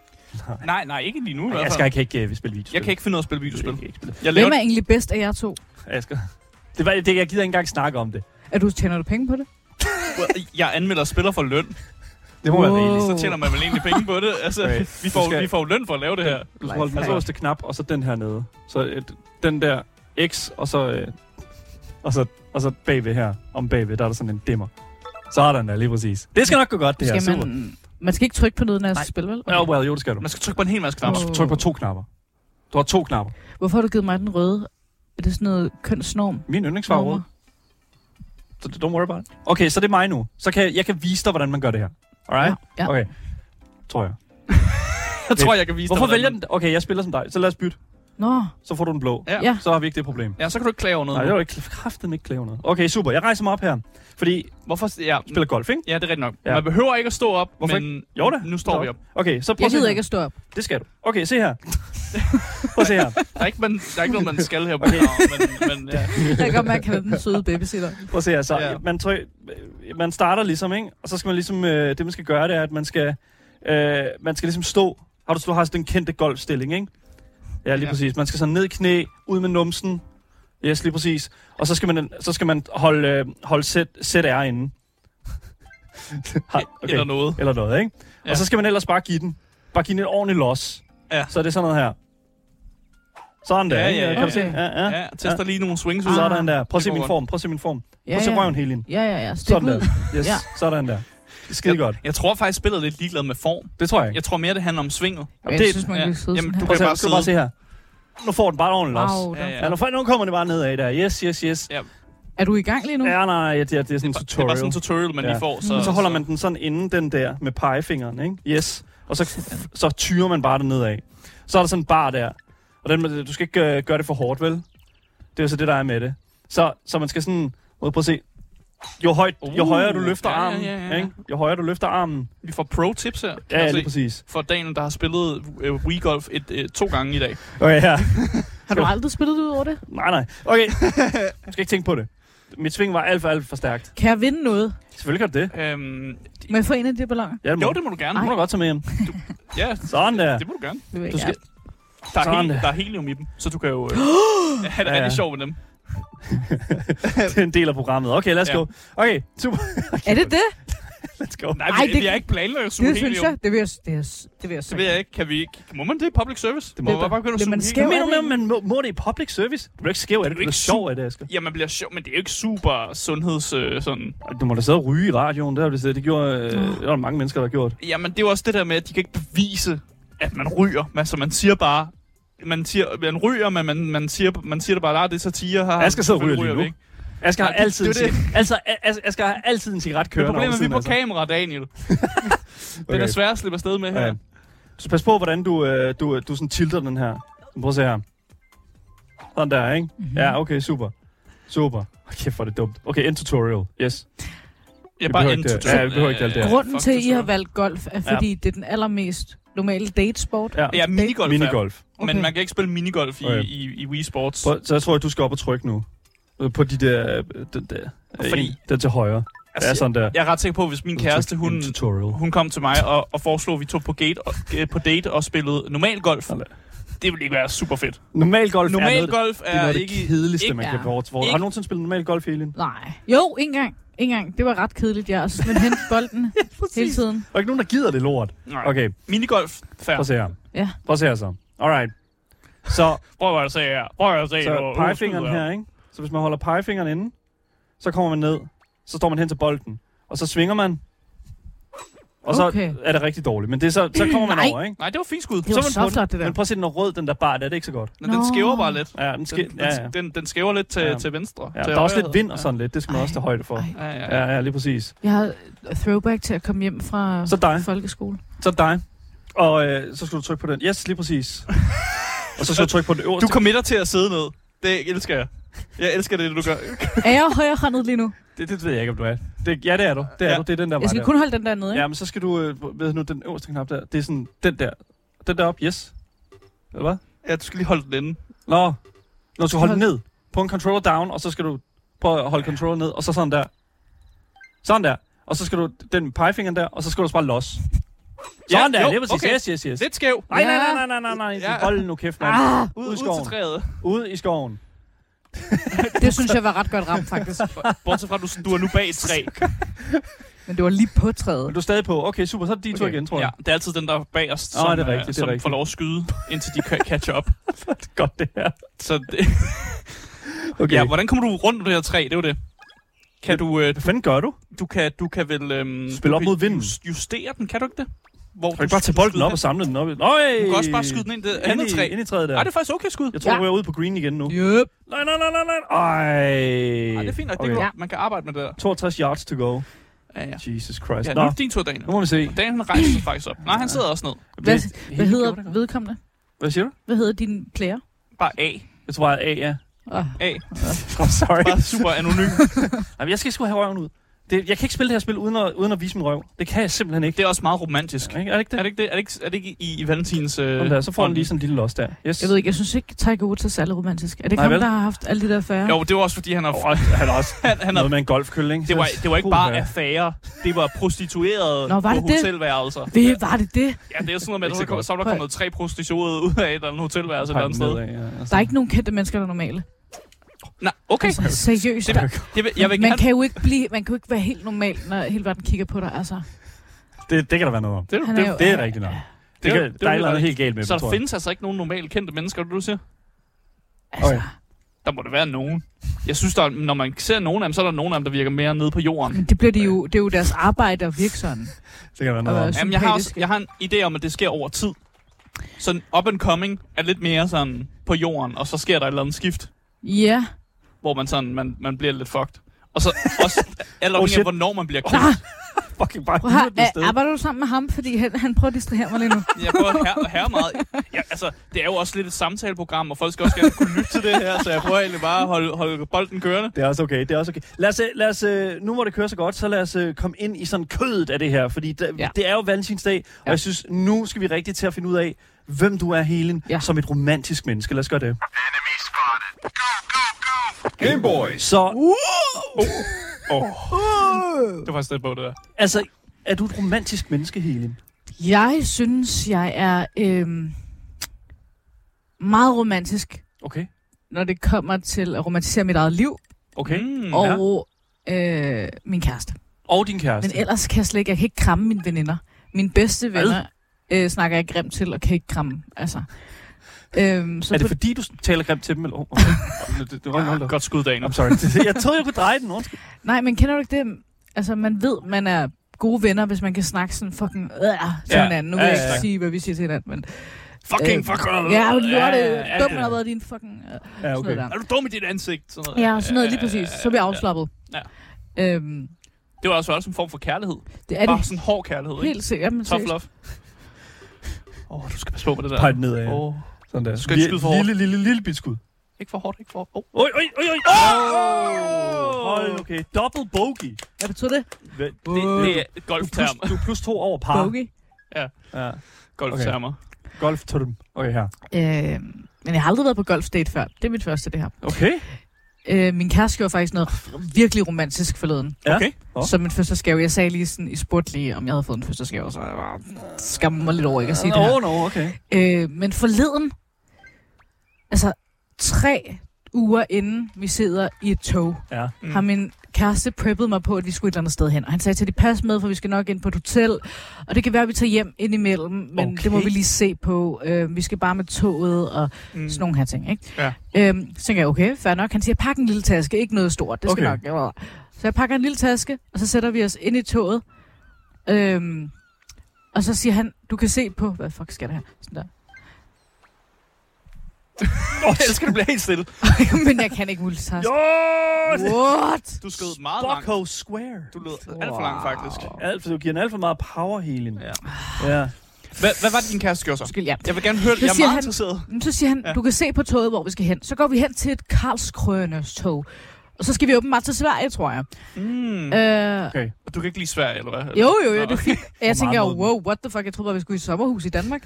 Speaker 3: Nej, nej, ikke lige nu i hvert
Speaker 2: Jeg
Speaker 3: fald.
Speaker 2: skal ikke, ikke uh, spille videospil.
Speaker 3: altså- jeg kan ikke finde noget at spille videospil.
Speaker 2: Jeg kan ikke spille.
Speaker 3: Jeg laver
Speaker 4: Hvem er egentlig bedst af jer to?
Speaker 2: Asger. Det var, det, jeg gider ikke engang snakke om det.
Speaker 4: Er du, tjener du penge på det?
Speaker 3: jeg anmelder spiller for løn,
Speaker 2: Det må være rigeligt.
Speaker 3: så tjener man vel egentlig penge på det. Altså,
Speaker 2: Okay.
Speaker 3: vi, får,
Speaker 2: Du skal-
Speaker 3: vi får jo løn for at lave det her.
Speaker 2: Du skal holde den
Speaker 4: Lifehack.
Speaker 2: øverste knap, og så den her nede. Så et, den der X, og så, øh, og så, og så bagved her. Om bagved, der er der sådan en dimmer. Så er der den der, lige præcis. Det skal nok gå godt, det her.
Speaker 4: skal
Speaker 2: Super.
Speaker 4: man, man skal ikke trykke på noget, når jeg
Speaker 2: Nej.
Speaker 4: spiller, vel?
Speaker 2: Ja, well, jo, det skal du.
Speaker 3: Man skal trykke på en hel masse knapper.
Speaker 4: Åh.
Speaker 2: Tryk på to knapper. Du har to knapper.
Speaker 4: Hvorfor har du givet mig den røde? Er det sådan noget kønsnorm?
Speaker 2: Min yndlingsfarve er rød. Så don't worry about it. Okay, så det er mig nu. Så kan jeg, jeg kan vise dig, hvordan man gør det her. Alright?
Speaker 4: Ja, ja.
Speaker 2: Okay. Tror jeg.
Speaker 3: Jeg tror, jeg kan vise
Speaker 2: Hvorfor
Speaker 3: dig.
Speaker 2: vælger den? Okay, jeg spiller som dig. Så lad os bytte.
Speaker 4: Nå,
Speaker 2: Så får du den blå.
Speaker 3: Ja.
Speaker 4: Ja.
Speaker 2: Så har vi ikke det problem.
Speaker 3: Ja, så kan du ikke klage over noget.
Speaker 2: Nej, det var ikke kraften ikke klave noget. Okay, super. Jeg rejser mig op her. Fordi jeg
Speaker 3: Hvorfor? Ja,
Speaker 2: spiller golf, ikke?
Speaker 3: ja, det er rigtigt nok.
Speaker 2: Ja.
Speaker 3: Ja. Man behøver ikke at stå op,
Speaker 2: Hvorfor
Speaker 3: men
Speaker 2: Jo da.
Speaker 3: nu står vi op.
Speaker 2: Okay, så prøv
Speaker 4: jeg
Speaker 2: at se
Speaker 4: gider
Speaker 2: her.
Speaker 4: ikke at stå op.
Speaker 2: Det skal du. Okay, se her. prøv at se her.
Speaker 3: Der er ikke, man, der er ikke noget, man skal her på okay. men, men ja.
Speaker 2: Ah,
Speaker 4: Jeg kan godt mærke, at han er den søde babysitter.
Speaker 2: Prøv at se her. Så
Speaker 3: Ja.
Speaker 2: man, tryk, man starter ligesom, ikke? Og så skal man ligesom... Øh, det, man skal gøre, det er, at man skal... Øh, man skal ligesom stå... Har du, du har sådan den kendte golfstilling, ikke? Ja, lige ja.
Speaker 3: Ja.
Speaker 2: præcis. Man skal sådan ned i knæ, ud med numsen. Yes, lige præcis. Og så skal man, så skal man holde, øh, holde sæt, sæt R inde. Har-
Speaker 3: okay. eller noget.
Speaker 2: eller noget, ikke? Ja.
Speaker 3: Ja.
Speaker 2: Og så skal man ellers bare give den. Bare give den et ordentligt los.
Speaker 3: Ja.
Speaker 2: Så er det sådan noget her. Sådan der,
Speaker 3: Ja,
Speaker 2: ikke?
Speaker 3: ja,
Speaker 2: kan
Speaker 3: ja,
Speaker 2: du se?
Speaker 4: ja.
Speaker 2: Ja, ja. Ah.
Speaker 3: Ja, tester lige nogle swings ud.
Speaker 2: Så er der den der. Prøv at se
Speaker 3: Ah. Det går
Speaker 2: min
Speaker 3: godt.
Speaker 2: form, prøv at se min form. Prøv
Speaker 4: Ja,
Speaker 2: at se
Speaker 4: ja.
Speaker 2: røven hele ind.
Speaker 4: Ja, ja, ja. Stik
Speaker 2: Sådan der.
Speaker 4: ud.
Speaker 2: Yes,
Speaker 4: Ja.
Speaker 2: sådan der. Skide godt.
Speaker 3: Jeg tror faktisk, spillet er lidt ligeglad med form.
Speaker 2: Det tror jeg ikke.
Speaker 3: Jeg tror mere, det handler om svinget.
Speaker 4: Men jeg
Speaker 2: det-
Speaker 4: synes, man
Speaker 3: ja.
Speaker 4: kan sidde
Speaker 3: Jamen,
Speaker 4: sådan
Speaker 3: du
Speaker 4: her.
Speaker 2: Prøv at se,
Speaker 3: kan bare
Speaker 2: du skal bare se
Speaker 3: sidde.
Speaker 2: her. Nu får den bare et ordentligt los.
Speaker 4: Au,
Speaker 3: Ja,
Speaker 4: der-
Speaker 3: ja.
Speaker 2: Ja, nu, får- nu kommer det bare nedad der. Yes, yes, yes.
Speaker 4: Er du i gang lige nu?
Speaker 2: Ja, nej, nej, det er, det er sådan en
Speaker 3: Det er bare
Speaker 2: tutorial.
Speaker 3: sådan en tutorial, man
Speaker 2: Ja.
Speaker 3: lige får. Så,
Speaker 2: Og så holder man den sådan inden den der med pegefingeren, ikke? Yes. Og så, så tyrer man bare det nedad. Så er der sådan en bar der. Og den, du skal ikke øh, gøre det for hårdt, vel? Det er jo så det, der er med det. Så, så man skal sådan... Må jeg prøve at se. Jo, højt, jo
Speaker 3: Uh,
Speaker 2: højere du løfter
Speaker 3: ja, ja,
Speaker 2: armen,
Speaker 3: ja, ja.
Speaker 2: Ikke? jo højere du løfter armen.
Speaker 3: Vi får pro-tips her. kan
Speaker 2: Ja, ja
Speaker 3: jeg se.
Speaker 2: lige præcis.
Speaker 3: For Daniel, der har spillet øh, Wii Golf et, øh, to gange i dag.
Speaker 2: Okay, ja.
Speaker 4: Har du aldrig spillet ud over det?
Speaker 2: Nej, nej. Okay. Du skal ikke tænke på det. Mit sving var alt for, alt for stærkt.
Speaker 4: Kan jeg vinde noget?
Speaker 2: Selvfølgelig gør det det.
Speaker 3: Øhm,
Speaker 4: Må jeg få en af de balloner?
Speaker 2: Ja, det må,
Speaker 3: jo,
Speaker 2: du.
Speaker 3: det må du gerne.
Speaker 2: det må du godt tage med hjem.
Speaker 3: Ja,
Speaker 2: Sådan der.
Speaker 3: det må du gerne.
Speaker 4: Det vil jeg
Speaker 2: Du skal,
Speaker 4: gerne.
Speaker 3: Der er,
Speaker 2: Sådan
Speaker 3: hel,
Speaker 2: det.
Speaker 3: der er helium i dem, så du kan jo øh, have det
Speaker 2: Ja, ja.
Speaker 3: rigtig sjovt med dem.
Speaker 2: det er en del af programmet. Okay, lad os
Speaker 3: Ja.
Speaker 2: gå. Okay, super.
Speaker 4: Er det det?
Speaker 2: Let's go.
Speaker 3: Nej,
Speaker 4: Ej,
Speaker 3: vi,
Speaker 4: det-
Speaker 3: det, vi har ikke planlagt at suge
Speaker 4: Det
Speaker 3: helium.
Speaker 4: synes jeg. Det vil jeg, det er, det vil jeg,
Speaker 3: Det ved jeg ikke. Kan vi ikke? Må man det? Public service?
Speaker 2: Det
Speaker 3: Det
Speaker 2: må
Speaker 3: må
Speaker 2: man.
Speaker 3: man bare begynde at
Speaker 4: Bliver
Speaker 3: suge
Speaker 4: man
Speaker 3: helium?
Speaker 2: Hvad mener
Speaker 4: skæv?
Speaker 2: du med, at man må, må det i public service? Du bliver ikke skæv af det, du
Speaker 3: ikke
Speaker 2: bliver sjov af det, Asger.
Speaker 3: Jamen, bliver sjov, men det er jo ikke super sundheds... Øh, sådan.
Speaker 2: Du må da sidde og ryge i radioen, det har du siddet. Det gjorde, øh,
Speaker 3: Mm.
Speaker 4: Nå.
Speaker 2: der er mange mennesker, der har gjort.
Speaker 3: Jamen, det er jo også det der med, at de kan ikke bevise, at man ryger. Altså, man siger bare... Man, siger, man ryger, men man, man, siger, man siger det bare, at det er satire. Her,
Speaker 2: Asger sidder og ryger lige nu.
Speaker 3: Ikke?
Speaker 2: Asger har
Speaker 3: Nej, det-
Speaker 2: altid,
Speaker 3: det er
Speaker 2: en cig- altså, A- As- Asger har altid en cigaret
Speaker 3: Det er
Speaker 2: kørende
Speaker 3: problemet,
Speaker 2: over
Speaker 3: at vi er
Speaker 2: siden
Speaker 3: på
Speaker 2: af sig.
Speaker 3: kamera, Daniel. Det er da
Speaker 2: Okay.
Speaker 3: svært at slippe afsted med her.
Speaker 2: Ja. Så pas på, hvordan du, øh, du, du sådan tilter den her. Så Prøv at se her. Sådan der, ikke?
Speaker 4: Mhm.
Speaker 2: Mm-hmm. Ja, okay, super. Super. Kæft, okay, hvor er det dumt. Okay, end tutorial. Yes.
Speaker 3: Jeg
Speaker 2: Vi
Speaker 3: er
Speaker 2: behøver
Speaker 3: bare en
Speaker 2: ikke det. Ja, vi behøver ikke alt det her.
Speaker 4: Grunden til, at I har valgt golf, er fordi det er den allermest normale datesport.
Speaker 2: Ja,
Speaker 3: Ja, minigolf. er-
Speaker 2: minigolf.
Speaker 4: Okay.
Speaker 3: Men man kan ikke spille minigolf i,
Speaker 2: Okay.
Speaker 3: i, i Wii Sports.
Speaker 2: Prøv, så jeg tror, at du skal op og trykke nu. Øh, På de der... øh, Den der, øh,
Speaker 3: Fordi-
Speaker 2: en- den til højre. Altså,
Speaker 3: Altså,
Speaker 2: ja, sådan der.
Speaker 3: Jeg er ret sikker på, at hvis min kæreste, hun,
Speaker 2: En tutorial.
Speaker 3: hun kom til mig og, og foreslog, at vi tog på, gate og, øh, på date og spillede normal golf,
Speaker 2: Sådan
Speaker 3: det ville ikke være super fedt.
Speaker 2: Normal golf er noget,
Speaker 3: Normal
Speaker 2: af
Speaker 3: golf
Speaker 2: det, det er
Speaker 3: er
Speaker 2: noget af det
Speaker 3: ikke...
Speaker 2: kedeligste,
Speaker 3: ikke-
Speaker 2: man kan
Speaker 4: Ja.
Speaker 2: vores. Har du
Speaker 3: Ikke-
Speaker 2: nogensinde spillet normal golf, Helin?
Speaker 4: Nej. Jo, ikke engang. Ikke engang. Det var ret kedeligt, ja. Og så skulle man hente bolden hele tiden.
Speaker 2: Der er ikke nogen, der gider det lort.
Speaker 3: Nej.
Speaker 2: Okay,
Speaker 3: Minigolf, fair.
Speaker 2: prøv at se her.
Speaker 4: Ja.
Speaker 2: Prøv at se her så. Alright. Så,
Speaker 3: Prøv at se her. Prøv at se
Speaker 2: så
Speaker 3: hvor-
Speaker 2: pegefingeren
Speaker 3: hvor-
Speaker 2: her, ikke? Så hvis man holder pegefingeren inde, så kommer man ned, så står man hen til bolden, og så svinger man, og så
Speaker 4: Okay.
Speaker 2: er det rigtig dårligt. Men det er så, så kommer man
Speaker 4: Nej.
Speaker 2: over, ikke?
Speaker 3: Nej, det var fint skud.
Speaker 4: Det
Speaker 2: Så
Speaker 4: var
Speaker 2: er man
Speaker 4: så
Speaker 2: på den.
Speaker 4: flot, det der.
Speaker 2: Men prøv at se, den er rød, den der bar, der er det ikke så godt.
Speaker 3: Men den
Speaker 4: Nå.
Speaker 3: skæver bare lidt.
Speaker 2: Ja, den, ske,
Speaker 3: Den,
Speaker 2: ja, ja.
Speaker 3: den, den, den skæver lidt til,
Speaker 2: Ja.
Speaker 3: til venstre.
Speaker 2: Ja,
Speaker 3: til
Speaker 2: der er også
Speaker 3: højre
Speaker 2: lidt
Speaker 3: hedder
Speaker 2: vind og sådan lidt, det skal man
Speaker 4: Ej.
Speaker 2: også tage højde for.
Speaker 4: Ej.
Speaker 3: det. Ja, ja, ja.
Speaker 2: Ja, ja, lige præcis.
Speaker 4: Jeg har throwback til at komme hjem fra
Speaker 2: Så dig.
Speaker 4: folkeskole.
Speaker 2: Så dig. Og øh, så skal du trykke på den. Yes, lige præcis. og så skal du trykke på den øverste.
Speaker 3: Du committer til at sidde ned. Det elsker jeg. Jeg elsker det, du gør.
Speaker 4: Er jeg højrehåndet lige nu?
Speaker 2: Det, det ved jeg ikke, om du er. Det, ja, det er du. Det er
Speaker 3: Ja.
Speaker 2: du. Det er den der
Speaker 4: Jeg
Speaker 2: vej
Speaker 4: skal
Speaker 2: der.
Speaker 4: kun holde den der nede, ikke?
Speaker 2: Ja, men så skal du, øh, ved nu, den øverste knap der, det er sådan den der. Den der op, yes. Eller hvad?
Speaker 3: Ja, du skal lige holde den inde.
Speaker 2: Nå, når du holder den ned på en controller down, og så skal du prøve at holde controller ned, og så sådan der. Sådan der. Og så skal du den med pegefingeren der, og så skal du også bare los. Sådan der,
Speaker 3: jo,
Speaker 2: det er præcis.
Speaker 3: okay.
Speaker 2: Yes, yes, yes.
Speaker 3: Lidt skæv.
Speaker 2: Nej, nej, nej, nej, nej, nej, nej.
Speaker 3: Ja.
Speaker 2: Hold nu kæft, mand.
Speaker 4: Ah,
Speaker 2: Ud
Speaker 3: Ud
Speaker 2: i
Speaker 3: til
Speaker 2: skoven.
Speaker 3: træet.
Speaker 2: Ud i skoven.
Speaker 4: det synes jeg var ret godt ramt, faktisk.
Speaker 3: Bortset fra, at du, du er nu bag et træ.
Speaker 4: Men det var lige på træet.
Speaker 2: Men du er stadig på. Okay, super. Så er det din okay. tur igen, tror
Speaker 3: Ja,
Speaker 2: jeg.
Speaker 3: det er altid den, der er bagerst,
Speaker 2: Nå,
Speaker 3: som,
Speaker 2: det er
Speaker 3: øh,
Speaker 2: rigtigt, det er
Speaker 3: som
Speaker 2: rigtigt.
Speaker 3: får lov at skyde, indtil de kan catch up.
Speaker 2: Ja. Godt det her.
Speaker 3: Så det,
Speaker 2: Okay.
Speaker 3: ja,
Speaker 2: Ja, hvor...
Speaker 3: hvordan kommer du rundt om det her træ? Det er jo det. Kan du, øh,
Speaker 2: Hvad fanden gør du?
Speaker 3: du, kan, du kan vel... Øhm,
Speaker 2: Spille
Speaker 3: du
Speaker 2: op
Speaker 3: kan
Speaker 2: mod vinden.
Speaker 3: jus- Justere den, kan du ikke det? Hvor
Speaker 2: Kan du ikke bare tage bolden op og samle den op? i- Nøj!
Speaker 3: Du kan også bare skyde den ind i det andet træ.
Speaker 2: Ind i træet der.
Speaker 3: Nej, det er faktisk okay skud.
Speaker 2: Jeg tror,
Speaker 4: Ja.
Speaker 2: ja. jeg er ude på green igen nu.
Speaker 4: Yep.
Speaker 2: Nej, nej, nej, nej, nej. Ej.
Speaker 3: Nej, det er fint nok. Det
Speaker 2: Okay.
Speaker 3: kan,
Speaker 4: Ja.
Speaker 3: man kan arbejde med det der.
Speaker 2: 62 yards to go.
Speaker 3: Ja, ja.
Speaker 2: Jesus Christ.
Speaker 3: ja
Speaker 2: Nå,
Speaker 3: nu er det din tur, Daniel.
Speaker 2: nu må vi se.
Speaker 3: Daniel han rejser sig faktisk op. Nej, han sidder også ned.
Speaker 4: Hvad,
Speaker 2: Helt
Speaker 4: hvad
Speaker 2: gjorde det
Speaker 4: hedder
Speaker 2: godt.
Speaker 4: vedkommende?
Speaker 2: Hvad siger du?
Speaker 4: Hvad hedder din player?
Speaker 3: Bare A.
Speaker 2: Jeg tror bare, A, ja.
Speaker 4: Oh,
Speaker 3: A.
Speaker 2: I'm sorry.
Speaker 3: Bare super anonym.
Speaker 2: Jamen, jeg skal sgu have røven ud. Det, jeg kan ikke spille det her spil uden at, uden at vise min røv. Det kan jeg simpelthen ikke.
Speaker 3: Det er også meget romantisk.
Speaker 2: ikke? Er det ikke
Speaker 3: Er
Speaker 2: det?
Speaker 3: det ikke, det? Er det ikke, er det ikke i, i Valentins... Øh,
Speaker 2: Sådan der, så får han
Speaker 3: ånd?
Speaker 2: lige sådan en lille loss der. Yes.
Speaker 4: jeg ved ikke, jeg synes ikke, Tiger Woods er særlig romantisk. Er det ikke
Speaker 2: Nej,
Speaker 4: ham,
Speaker 2: vel?
Speaker 4: der har haft alle de der færre?
Speaker 3: Jo, det var også fordi, han er fra...
Speaker 2: Han er også
Speaker 3: Han, han er,
Speaker 2: noget med en golfkølle, ikke?
Speaker 3: det, var, det var ikke bare
Speaker 2: Puha.
Speaker 3: affærer. Det var prostituerede
Speaker 4: Nå, var
Speaker 3: på
Speaker 4: det det?
Speaker 3: hotelværelser.
Speaker 4: Ved, var det det?
Speaker 3: Ja, det er sådan noget med,
Speaker 2: Ikke
Speaker 3: at der
Speaker 2: så
Speaker 3: så kom-
Speaker 2: godt.
Speaker 3: så er der kommet tre prostituerede ud af et eller andet hotelværelse et eller andet
Speaker 2: Pege
Speaker 3: sted.
Speaker 2: nedad, ja, altså.
Speaker 4: Der er ikke nogen kendte mennesker, der er normale.
Speaker 3: Nej, okay.
Speaker 4: Altså, seriøst.
Speaker 3: Det
Speaker 4: der-
Speaker 3: Jeg vil, jeg vil
Speaker 4: man
Speaker 3: gerne...
Speaker 4: kan jo ikke blive, man kan jo ikke være helt normal, når hele verden kigger på dig. Altså,
Speaker 2: det, det kan der være noget om.
Speaker 3: Det,
Speaker 4: Han
Speaker 3: det,
Speaker 4: er jo-
Speaker 2: Det er rigtigt nok. Det,
Speaker 3: Det
Speaker 2: kan,
Speaker 3: er- det
Speaker 2: der
Speaker 3: er
Speaker 2: er et eller andet
Speaker 3: rigtigt.
Speaker 2: helt galt med
Speaker 3: så
Speaker 2: dem,
Speaker 3: der
Speaker 2: tror jeg.
Speaker 3: findes altså ikke nogen normalt kendte mennesker, er det, du siger?
Speaker 4: altså
Speaker 2: Okay.
Speaker 3: Der må det være nogen. Jeg synes, der er, når man ser nogen af dem, så er der nogen af dem, der virker mere nede på jorden.
Speaker 4: men det bliver de jo, det er jo deres arbejde at virke sådan.
Speaker 2: Det kan der være
Speaker 4: Og
Speaker 2: noget om.
Speaker 4: være
Speaker 3: Jamen, jeg har, også,
Speaker 4: sympatisk.
Speaker 3: jeg har en idé om, at det sker over tid. Så up and coming er lidt mere sådan på jorden, og så sker der et eller andet skift,
Speaker 4: Ja.
Speaker 3: hvor man, sådan, man, man bliver lidt fucked. Og så også, alt
Speaker 2: Oh, Ah.
Speaker 3: afhængig
Speaker 2: shit.
Speaker 3: af, hvornår man bliver
Speaker 4: Nå,
Speaker 3: kendt.
Speaker 2: Fucking bare
Speaker 4: prøv at høre,
Speaker 2: det sted.
Speaker 4: øh, arbejder du sammen med ham? Fordi han, han prøver at distrahere mig lige nu.
Speaker 3: Jeg prøver at herre, herre meget. Ja, altså, det er jo også lidt et samtaleprogram, og folk skal også gerne kunne lytte til det her, så jeg prøver egentlig bare at holde, holde bolden kørende.
Speaker 2: Det er også okay, det er også okay. Lad os, øh, lad os, øh, nu hvor det kører så godt, så lad os øh, komme ind i sådan kødet af det her, fordi der, ja.
Speaker 4: Ja.
Speaker 2: det er jo valentinsdag, ja. og
Speaker 4: Ja.
Speaker 2: jeg synes, nu skal vi rigtig til at finde ud af, hvem du er, Helen, ja.
Speaker 4: Ja.
Speaker 2: som et romantisk menneske. Lad os gøre det.
Speaker 1: Game Boys.
Speaker 2: Så
Speaker 3: Det var faktisk det på, det der.
Speaker 2: altså, er du et romantisk menneske, Helen?
Speaker 4: Jeg synes, jeg er øhm, meget romantisk,
Speaker 2: Okay.
Speaker 4: når det kommer til at romantisere mit eget liv
Speaker 2: Okay. Mm.
Speaker 3: Mm, ja.
Speaker 4: og øh, min kæreste.
Speaker 2: Og din
Speaker 4: Men
Speaker 2: kæreste.
Speaker 4: ellers kan jeg slet ikke, jeg kan ikke kramme mine veninder. Mine bedste venner øh, snakker jeg grimt til og kan ikke kramme. Altså. Øhm, så
Speaker 2: er det
Speaker 4: på-
Speaker 2: fordi, du taler grimt til dem? Eller? Oh, okay. det, det, det var en hold da op.
Speaker 3: Godt skud, Daniel.
Speaker 2: I'm sorry. jeg troede, jeg kunne dreje den. Undskyld.
Speaker 4: Nej, men kender du ikke det? Altså, man ved, man er gode venner, hvis man kan snakke sådan fucking øh, til
Speaker 3: Ja.
Speaker 4: ja. hinanden. Nu
Speaker 3: Ja,
Speaker 4: vil jeg
Speaker 3: ja, ja.
Speaker 4: ikke sige, hvad vi siger til hinanden, men...
Speaker 3: Fucking,
Speaker 4: Øh,
Speaker 3: fuck.
Speaker 4: Ja, du lorte,
Speaker 3: ja, ja,
Speaker 4: ja, dum,
Speaker 3: ja.
Speaker 4: man har været din fucking... Øh, okay.
Speaker 2: Ja,
Speaker 4: sådan noget
Speaker 2: okay.
Speaker 4: der.
Speaker 3: Er du dum i dit ansigt? Sådan noget.
Speaker 4: Ja, sådan noget lige præcis. Så bliver jeg afslappet.
Speaker 3: Ja.
Speaker 4: Øhm,
Speaker 3: Det var også, også en form for kærlighed.
Speaker 4: det er
Speaker 3: Bare
Speaker 4: det
Speaker 3: sådan hård kærlighed, ikke?
Speaker 4: helt sikkert. Jamen,
Speaker 3: Tough
Speaker 4: seriøst.
Speaker 3: love. Åh, oh, du skal passe på med det der.
Speaker 2: Pege den nedad.
Speaker 3: Åh, oh,
Speaker 2: Sådan der.
Speaker 3: Du skal ikke
Speaker 2: Lille-
Speaker 3: skyde for hårdt.
Speaker 2: Lille, lille, lille bit skud.
Speaker 3: ikke for hårdt, ikke for hårdt. Oh.
Speaker 2: Oj, oj, oj, oj.
Speaker 3: Åh!
Speaker 2: Hold, okay. Double bogey.
Speaker 4: Hvad betyder det?
Speaker 2: Hvad-
Speaker 3: Det, det er
Speaker 2: Du er, plus,
Speaker 3: golfterm.
Speaker 2: du er plus to over par.
Speaker 4: Bogey.
Speaker 2: Ja.
Speaker 3: Golftermer.
Speaker 2: Golfterm. Okay, her.
Speaker 4: Øhm, men jeg har aldrig været på golfdate før. Det er mit første, det her.
Speaker 2: Okay.
Speaker 4: Øh, min kæreste gjorde faktisk noget virkelig romantisk forleden.
Speaker 2: Ja.
Speaker 3: Okay.
Speaker 2: Nå.
Speaker 4: Som en fødselsdagsgave. Jeg sagde lige sådan, I spurgte lige, om jeg havde fået en fødselsdagsgave, så jeg var- skammer mig lidt over ikke at sige det her.
Speaker 2: Åh, no, okay.
Speaker 4: Øh, men forleden, altså tre uger inden vi sidder i et tog,
Speaker 2: Ja.
Speaker 4: mm. har min kæreste preppet mig på, at vi skulle et eller andet sted hen. Og han sagde til, at de pas med, for vi skal nok ind på et hotel. Og det kan være, at vi tager hjem indimellem, men okay. det må
Speaker 2: Okay.
Speaker 4: vi lige se på. Øh, vi skal bare med toget og
Speaker 3: Mm.
Speaker 4: sådan nogle her ting, ikke?
Speaker 3: Ja.
Speaker 4: Øhm, så tænker jeg, okay, fair nok. Han siger, pak en lille taske, ikke noget stort, det skal
Speaker 2: Okay.
Speaker 4: nok. Ja. Så jeg pakker en lille taske, og så sætter vi os ind i toget. Øhm, og så siger han, du kan se på, hvad fuck skal det her? Sådan der.
Speaker 3: Åh, oh, jeg skal du blive helt stille.
Speaker 4: men jeg kan ikke multitaske.
Speaker 2: Jo!
Speaker 4: What?
Speaker 3: Du skød meget langt.
Speaker 2: Bucko Square.
Speaker 3: Du lød alt for langt, faktisk.
Speaker 2: Alt, for- du giver den alt for meget power healing.
Speaker 3: Ja.
Speaker 2: ja.
Speaker 3: Hvad, hvad var det, din kæreste gjorde så?
Speaker 4: Undskyld, ja.
Speaker 3: Jeg vil gerne høre det.
Speaker 4: Så
Speaker 3: Jeg er
Speaker 4: siger
Speaker 3: meget
Speaker 4: han-
Speaker 3: interesseret.
Speaker 4: Men så siger han,
Speaker 3: Ja.
Speaker 4: ja. du kan se på toget, hvor vi skal hen. Så går vi hen til et Karlskrønes tog. Og så skal vi åbenbart til Sverige, tror jeg.
Speaker 3: Mm.
Speaker 4: Øh,
Speaker 2: Okay.
Speaker 3: Og Du kan ikke lide Sverige, eller hvad?
Speaker 4: Jo, jo, jo,
Speaker 3: Nå,
Speaker 4: det er fint. Jeg tænker,
Speaker 2: mod den.
Speaker 4: wow, what the fuck, jeg troede bare, vi skulle i sommerhus i Danmark.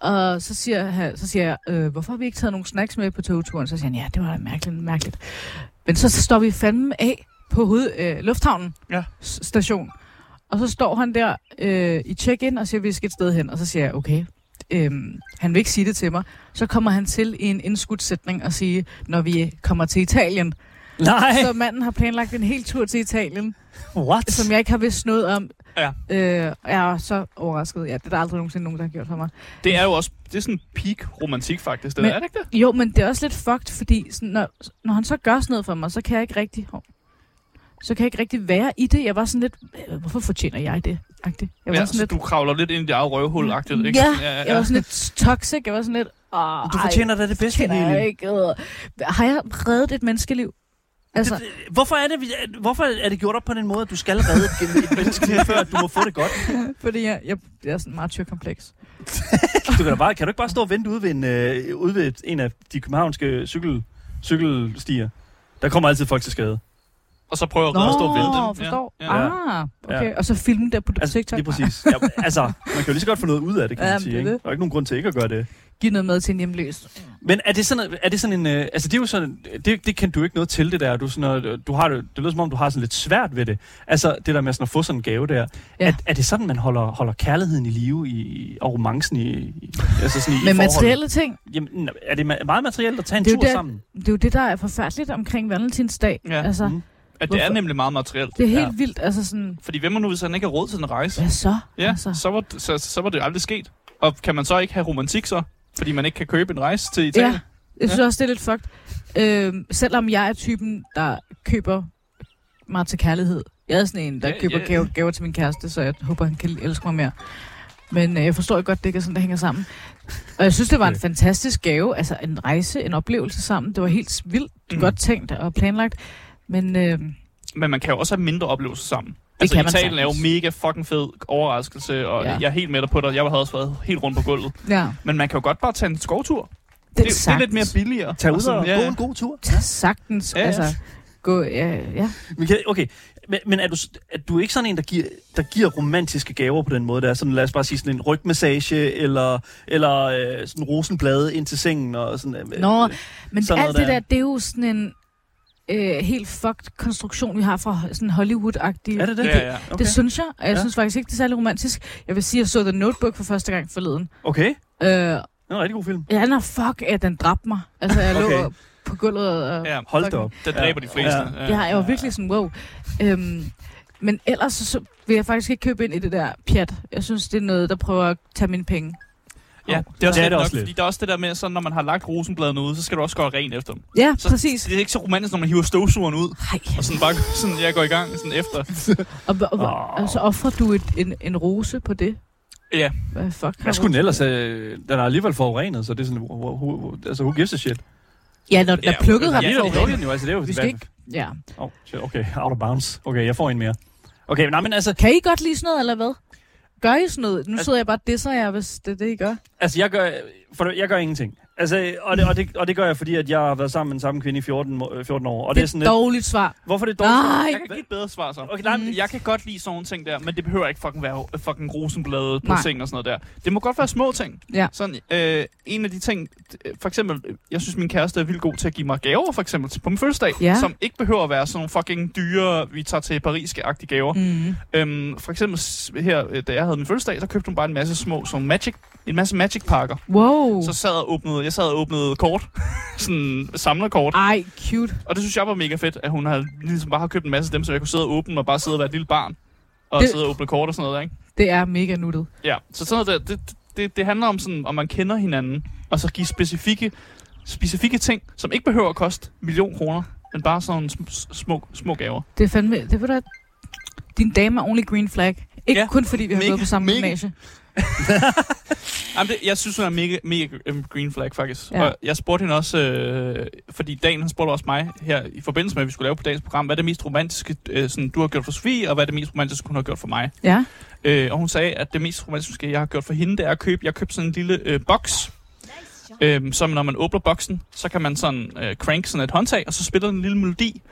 Speaker 4: Og så siger, han, så siger jeg, øh, hvorfor har vi ikke taget nogen snacks med på togturen? Så siger han, ja, det var da mærkeligt, mærkeligt. Men så står vi fandme af på hoved, øh, lufthavnen
Speaker 3: Ja.
Speaker 4: s- station. Og så står han der øh, i check-in og siger, vi skal et sted hen. Og så siger jeg, okay. Øhm, han vil ikke sige det til mig. Så kommer han til i en indskudt sætning og sige, når vi kommer til Italien.
Speaker 2: Nej,
Speaker 4: Så manden har planlagt en hel tur til Italien,
Speaker 2: what?
Speaker 4: som jeg ikke har vidst noget om.
Speaker 3: Ja.
Speaker 4: Øh, og jeg er så overrasket. Ja, det er der aldrig nogensinde nogen, der har gjort for mig.
Speaker 3: Det er jo også, det er sådan peak romantik faktisk, det
Speaker 4: Men-
Speaker 3: der, er det ikke det?
Speaker 4: Jo, men det er også lidt fucked, fordi sådan, når, når han så gør sådan noget for mig, så kan jeg ikke rigtig... Hov. Så kan jeg ikke rigtig være i det. Jeg var sådan lidt, "Øh, hvorfor fortjener jeg det? Agtigt. Jeg var
Speaker 3: Ja,
Speaker 4: sådan
Speaker 3: så
Speaker 4: lidt, Mm.
Speaker 3: du kravler lidt ind i dit eget røvhul ikke?
Speaker 4: Ja,
Speaker 3: ja, ja.
Speaker 4: jeg var sådan lidt toxic. Jeg var sådan lidt, Åh,
Speaker 2: Du fortjener da det bedste,
Speaker 4: ej, kender jeg
Speaker 2: Lili.
Speaker 4: ikke. Øh. Har jeg reddet et menneskeliv? Altså, det,
Speaker 2: Hvorfor er, det, vi- hvorfor er det gjort op på den måde, at du skal redde et gen- et menneske, før at du må få det godt?
Speaker 4: det... fordi jeg, jeg, jeg er sådan meget tyrkompleks.
Speaker 2: Du kan, da bare, kan du ikke bare stå og vente ude ved en, øh, ude ved et- en af de københavnske cykel, cykelstier? Der kommer altid folk til skade.
Speaker 3: Og så prøver jeg at stå og vente. Ja,
Speaker 4: forstår.
Speaker 3: Ja, ja.
Speaker 4: Ah, okay. Og så filme der på
Speaker 2: Altså,
Speaker 4: TikTok.
Speaker 2: lige præcis. Ja, altså, man kan jo lige så godt få noget ud af det, kan man
Speaker 4: Jamen,
Speaker 2: sige.
Speaker 4: det er
Speaker 2: Ikke?
Speaker 4: det.
Speaker 2: Der er ikke nogen grund til ikke at gøre det.
Speaker 4: Giv noget med til en hjemløs.
Speaker 2: Men er det sådan, er det sådan en... Øh, altså, det er jo sådan... Det, det kan du ikke noget til, det der. Du, er sådan, noget, du har, det det lyder som om, du har sådan lidt svært ved det. Altså, det der med sådan at få sådan en gave der. Ja.
Speaker 4: Ja.
Speaker 2: Er, er det sådan, man holder, holder kærligheden i live i, og romancen i, i altså sådan i,
Speaker 4: Med
Speaker 2: i forholdet?
Speaker 4: materielle ting.
Speaker 2: Jamen, er det ma- meget materielt at tage en
Speaker 4: Det er jo
Speaker 2: tur
Speaker 4: det.
Speaker 2: sammen?
Speaker 4: det er jo det, der er forfærdeligt omkring valentinsdag.
Speaker 3: Ja.
Speaker 4: Ja. Altså,
Speaker 2: Mm.
Speaker 4: mm.
Speaker 3: At det er
Speaker 4: Hvorfor?
Speaker 3: nemlig meget materielt.
Speaker 4: Det er helt
Speaker 3: Ja.
Speaker 4: ja. vildt. Altså sådan,
Speaker 3: Fordi hvem er nu, hvis han ikke har råd til en rejse?
Speaker 4: hvad så?
Speaker 3: Ja,
Speaker 4: Altså,
Speaker 3: så var, det- så, så var det aldrig sket. Og kan man så ikke have romantik så? Fordi man ikke kan købe en rejse til Italien?
Speaker 4: ja. Jeg synes ja. også, det er lidt fucked. Øhm, selvom jeg er typen, der køber meget til kærlighed. Jeg er sådan en, der
Speaker 3: Ja,
Speaker 4: ja, køber
Speaker 3: ja.
Speaker 4: ja. Gaver, gaver til min kæreste, så jeg håber, han kan elske mig mere. Men øh, jeg forstår ikke godt, det ikke er sådan, det hænger sammen. Og jeg synes, det var en
Speaker 2: Ja.
Speaker 4: fantastisk gave. Altså en rejse, en oplevelse sammen. Det var helt vildt
Speaker 3: Mm.
Speaker 4: mm. godt tænkt og planlagt. Men øh,
Speaker 3: Men man kan jo også have mindre oplevelser sammen. Det
Speaker 4: kan man
Speaker 3: Italien er jo
Speaker 4: sagtens.
Speaker 3: mega fucking fed overraskelse, og ja.
Speaker 4: Ja.
Speaker 3: jeg er helt med dig på dig. Jeg havde også været helt rundt på gulvet.
Speaker 4: ja,
Speaker 3: Men man kan jo godt bare tage en skovtur.
Speaker 4: det,
Speaker 3: det, det er lidt mere billigere.
Speaker 2: Tag ud
Speaker 3: sådan,
Speaker 2: og
Speaker 3: ja,
Speaker 2: gå
Speaker 3: ja.
Speaker 2: en god tur.
Speaker 4: sagtens.
Speaker 3: Ja,
Speaker 4: Ja,
Speaker 3: ja.
Speaker 4: Altså, gå, ja, ja.
Speaker 2: Men kan- Okay, men, men er, du, s- er du ikke sådan en, der giver, der giver romantiske gaver på den måde? Der er sådan, lad os bare sige, sådan en rygmassage, eller, eller øh, sådan rosenblade ind til sengen, og sådan... øh,
Speaker 4: Nå,
Speaker 2: øh,
Speaker 4: men
Speaker 2: sådan
Speaker 4: alt
Speaker 2: noget
Speaker 4: det
Speaker 2: der.
Speaker 4: der, det er jo sådan en øh, helt fucked konstruktion, vi har fra ho- sådan Hollywood-agtig.
Speaker 2: er det det?
Speaker 3: Ja, ja.
Speaker 2: Okay.
Speaker 4: Det synes jeg, og jeg
Speaker 2: Ja.
Speaker 4: ja. synes faktisk ikke, det er særlig romantisk. Jeg vil sige, jeg så The Notebook for første gang forleden.
Speaker 2: okay.
Speaker 4: Øh,
Speaker 2: Det er en rigtig god film.
Speaker 4: ja, nå, fuck, at den dræbte mig. Altså, jeg okay.
Speaker 2: Okay.
Speaker 4: lå på gulvet og...
Speaker 3: Ja,
Speaker 2: Hold da
Speaker 4: Fucking-
Speaker 2: op.
Speaker 3: der
Speaker 2: Ja.
Speaker 3: dræber de fleste.
Speaker 2: Ja.
Speaker 4: Ja, jeg var virkelig sådan, wow. Øhm, men ellers så, så vil jeg faktisk ikke købe ind i det der pjat. Jeg synes, det er noget, der prøver at tage mine penge.
Speaker 3: Ja, det er også,
Speaker 2: Det
Speaker 3: det er det også nok, lidt. Fordi der er også det der med, sådan, når man har lagt rosenbladene ud, så skal du også gøre rent efter dem.
Speaker 4: Ja,
Speaker 3: Så-
Speaker 4: så, præcis.
Speaker 3: Det er ikke så romantisk, når man hiver støvsugeren ud,
Speaker 4: Hej.
Speaker 3: og sådan bare sådan, jeg går i gang sådan efter.
Speaker 4: Og, og,
Speaker 2: Åh.
Speaker 4: oh. altså, offrer du et, en, en rose på det?
Speaker 3: Ja.
Speaker 4: Hvad fuck?
Speaker 2: Hvad skulle den ellers? Øh, den er alligevel forurenet, så det er sådan... Who, who, who, altså, who gives a shit?
Speaker 4: Ja, når den
Speaker 3: Ja,
Speaker 4: er plukket,
Speaker 3: men
Speaker 4: har
Speaker 2: Det
Speaker 4: den
Speaker 2: er
Speaker 4: forurenet.
Speaker 2: jo, altså, det er jo...
Speaker 4: Vi skal ikke... Ja.
Speaker 2: Oh, shit, okay, out of bounds. Okay, jeg får en mere. Okay, men, nej, men altså,
Speaker 4: Kan I godt lide sådan noget, eller hvad? Gør I sådan noget? Nu
Speaker 2: Altså-
Speaker 4: sidder jeg bare og disser jer, hvis det er det, I gør.
Speaker 2: Altså, jeg gør, for det- jeg gør ingenting. Altså, og det, og, det, og det gør jeg, fordi at jeg har været sammen med den samme kvinde i 14, må- øh, 14 år. Og det, er sådan
Speaker 4: et
Speaker 2: lidt,
Speaker 4: dårligt svar.
Speaker 2: hvorfor er det dårligt?
Speaker 3: Jeg
Speaker 4: Nej!
Speaker 3: kan give et bedre svar så.
Speaker 2: Okay, nej, men-
Speaker 3: Jeg kan godt lide sådan nogle ting der, men det behøver ikke fucking være øh, fucking rosenblade på
Speaker 4: Nej.
Speaker 3: sengen og sådan noget der. Det må godt være små ting.
Speaker 4: Ja.
Speaker 3: Sådan, øh, en af de ting, øh, for eksempel, øh, jeg synes min kæreste er vildt god til at give mig gaver, for eksempel til- på min fødselsdag,
Speaker 4: Ja.
Speaker 3: som ikke behøver at være sådan nogle fucking dyre, vi tager til Paris-agtige gaver.
Speaker 4: Mm.
Speaker 3: Øhm, for eksempel s- her, øh, da jeg havde min fødselsdag, så købte hun bare en masse små, sådan magic, en masse magic pakker.
Speaker 4: Wow.
Speaker 3: Så sad jeg og åbnede, jeg sad og åbnede kort, sådan samlerkort.
Speaker 4: Ej, cute.
Speaker 3: Og det synes jeg var mega fedt, at hun har, ligesom bare har købt en masse af dem, så jeg kunne sidde og åbne og bare sidde og være et lille barn. Og det...
Speaker 4: Det-
Speaker 3: sidde og åbne kort og sådan noget, der, ikke?
Speaker 4: Det er mega nuttet.
Speaker 3: Ja, så sådan noget der, det, det, det handler om sådan, om man kender hinanden, og så give specifikke, specifikke ting, som ikke behøver at koste en million kroner, men bare sådan nogle sm- små, små gaver.
Speaker 4: Det er fandme... Det ved du, hvad? din dame er only green flag. Ikke
Speaker 3: Ja.
Speaker 4: kun fordi vi har
Speaker 3: Mega,
Speaker 4: gået på samme
Speaker 3: mega.
Speaker 4: gymnasie.
Speaker 3: Jamen, det, jeg synes, hun er mega, mega øhm, green flag, faktisk. Ja.
Speaker 4: Ja.
Speaker 3: Og jeg spurgte hende også, øh, fordi Dan, han spurgte også mig her, i forbindelse med, at vi skulle lave på dagens program, hvad er det mest romantiske, øh, sådan, du har gjort for Sofie, og hvad er det mest romantiske, hun har gjort for mig?
Speaker 4: Ja.
Speaker 3: Øh, og hun sagde, at det mest romantiske, jeg har gjort for hende, det er at købe, jeg købte sådan en lille øh, boks. Øh, som når man åbner boksen, så kan man sådan øh, crank sådan et håndtag, og så spiller den en lille melodi.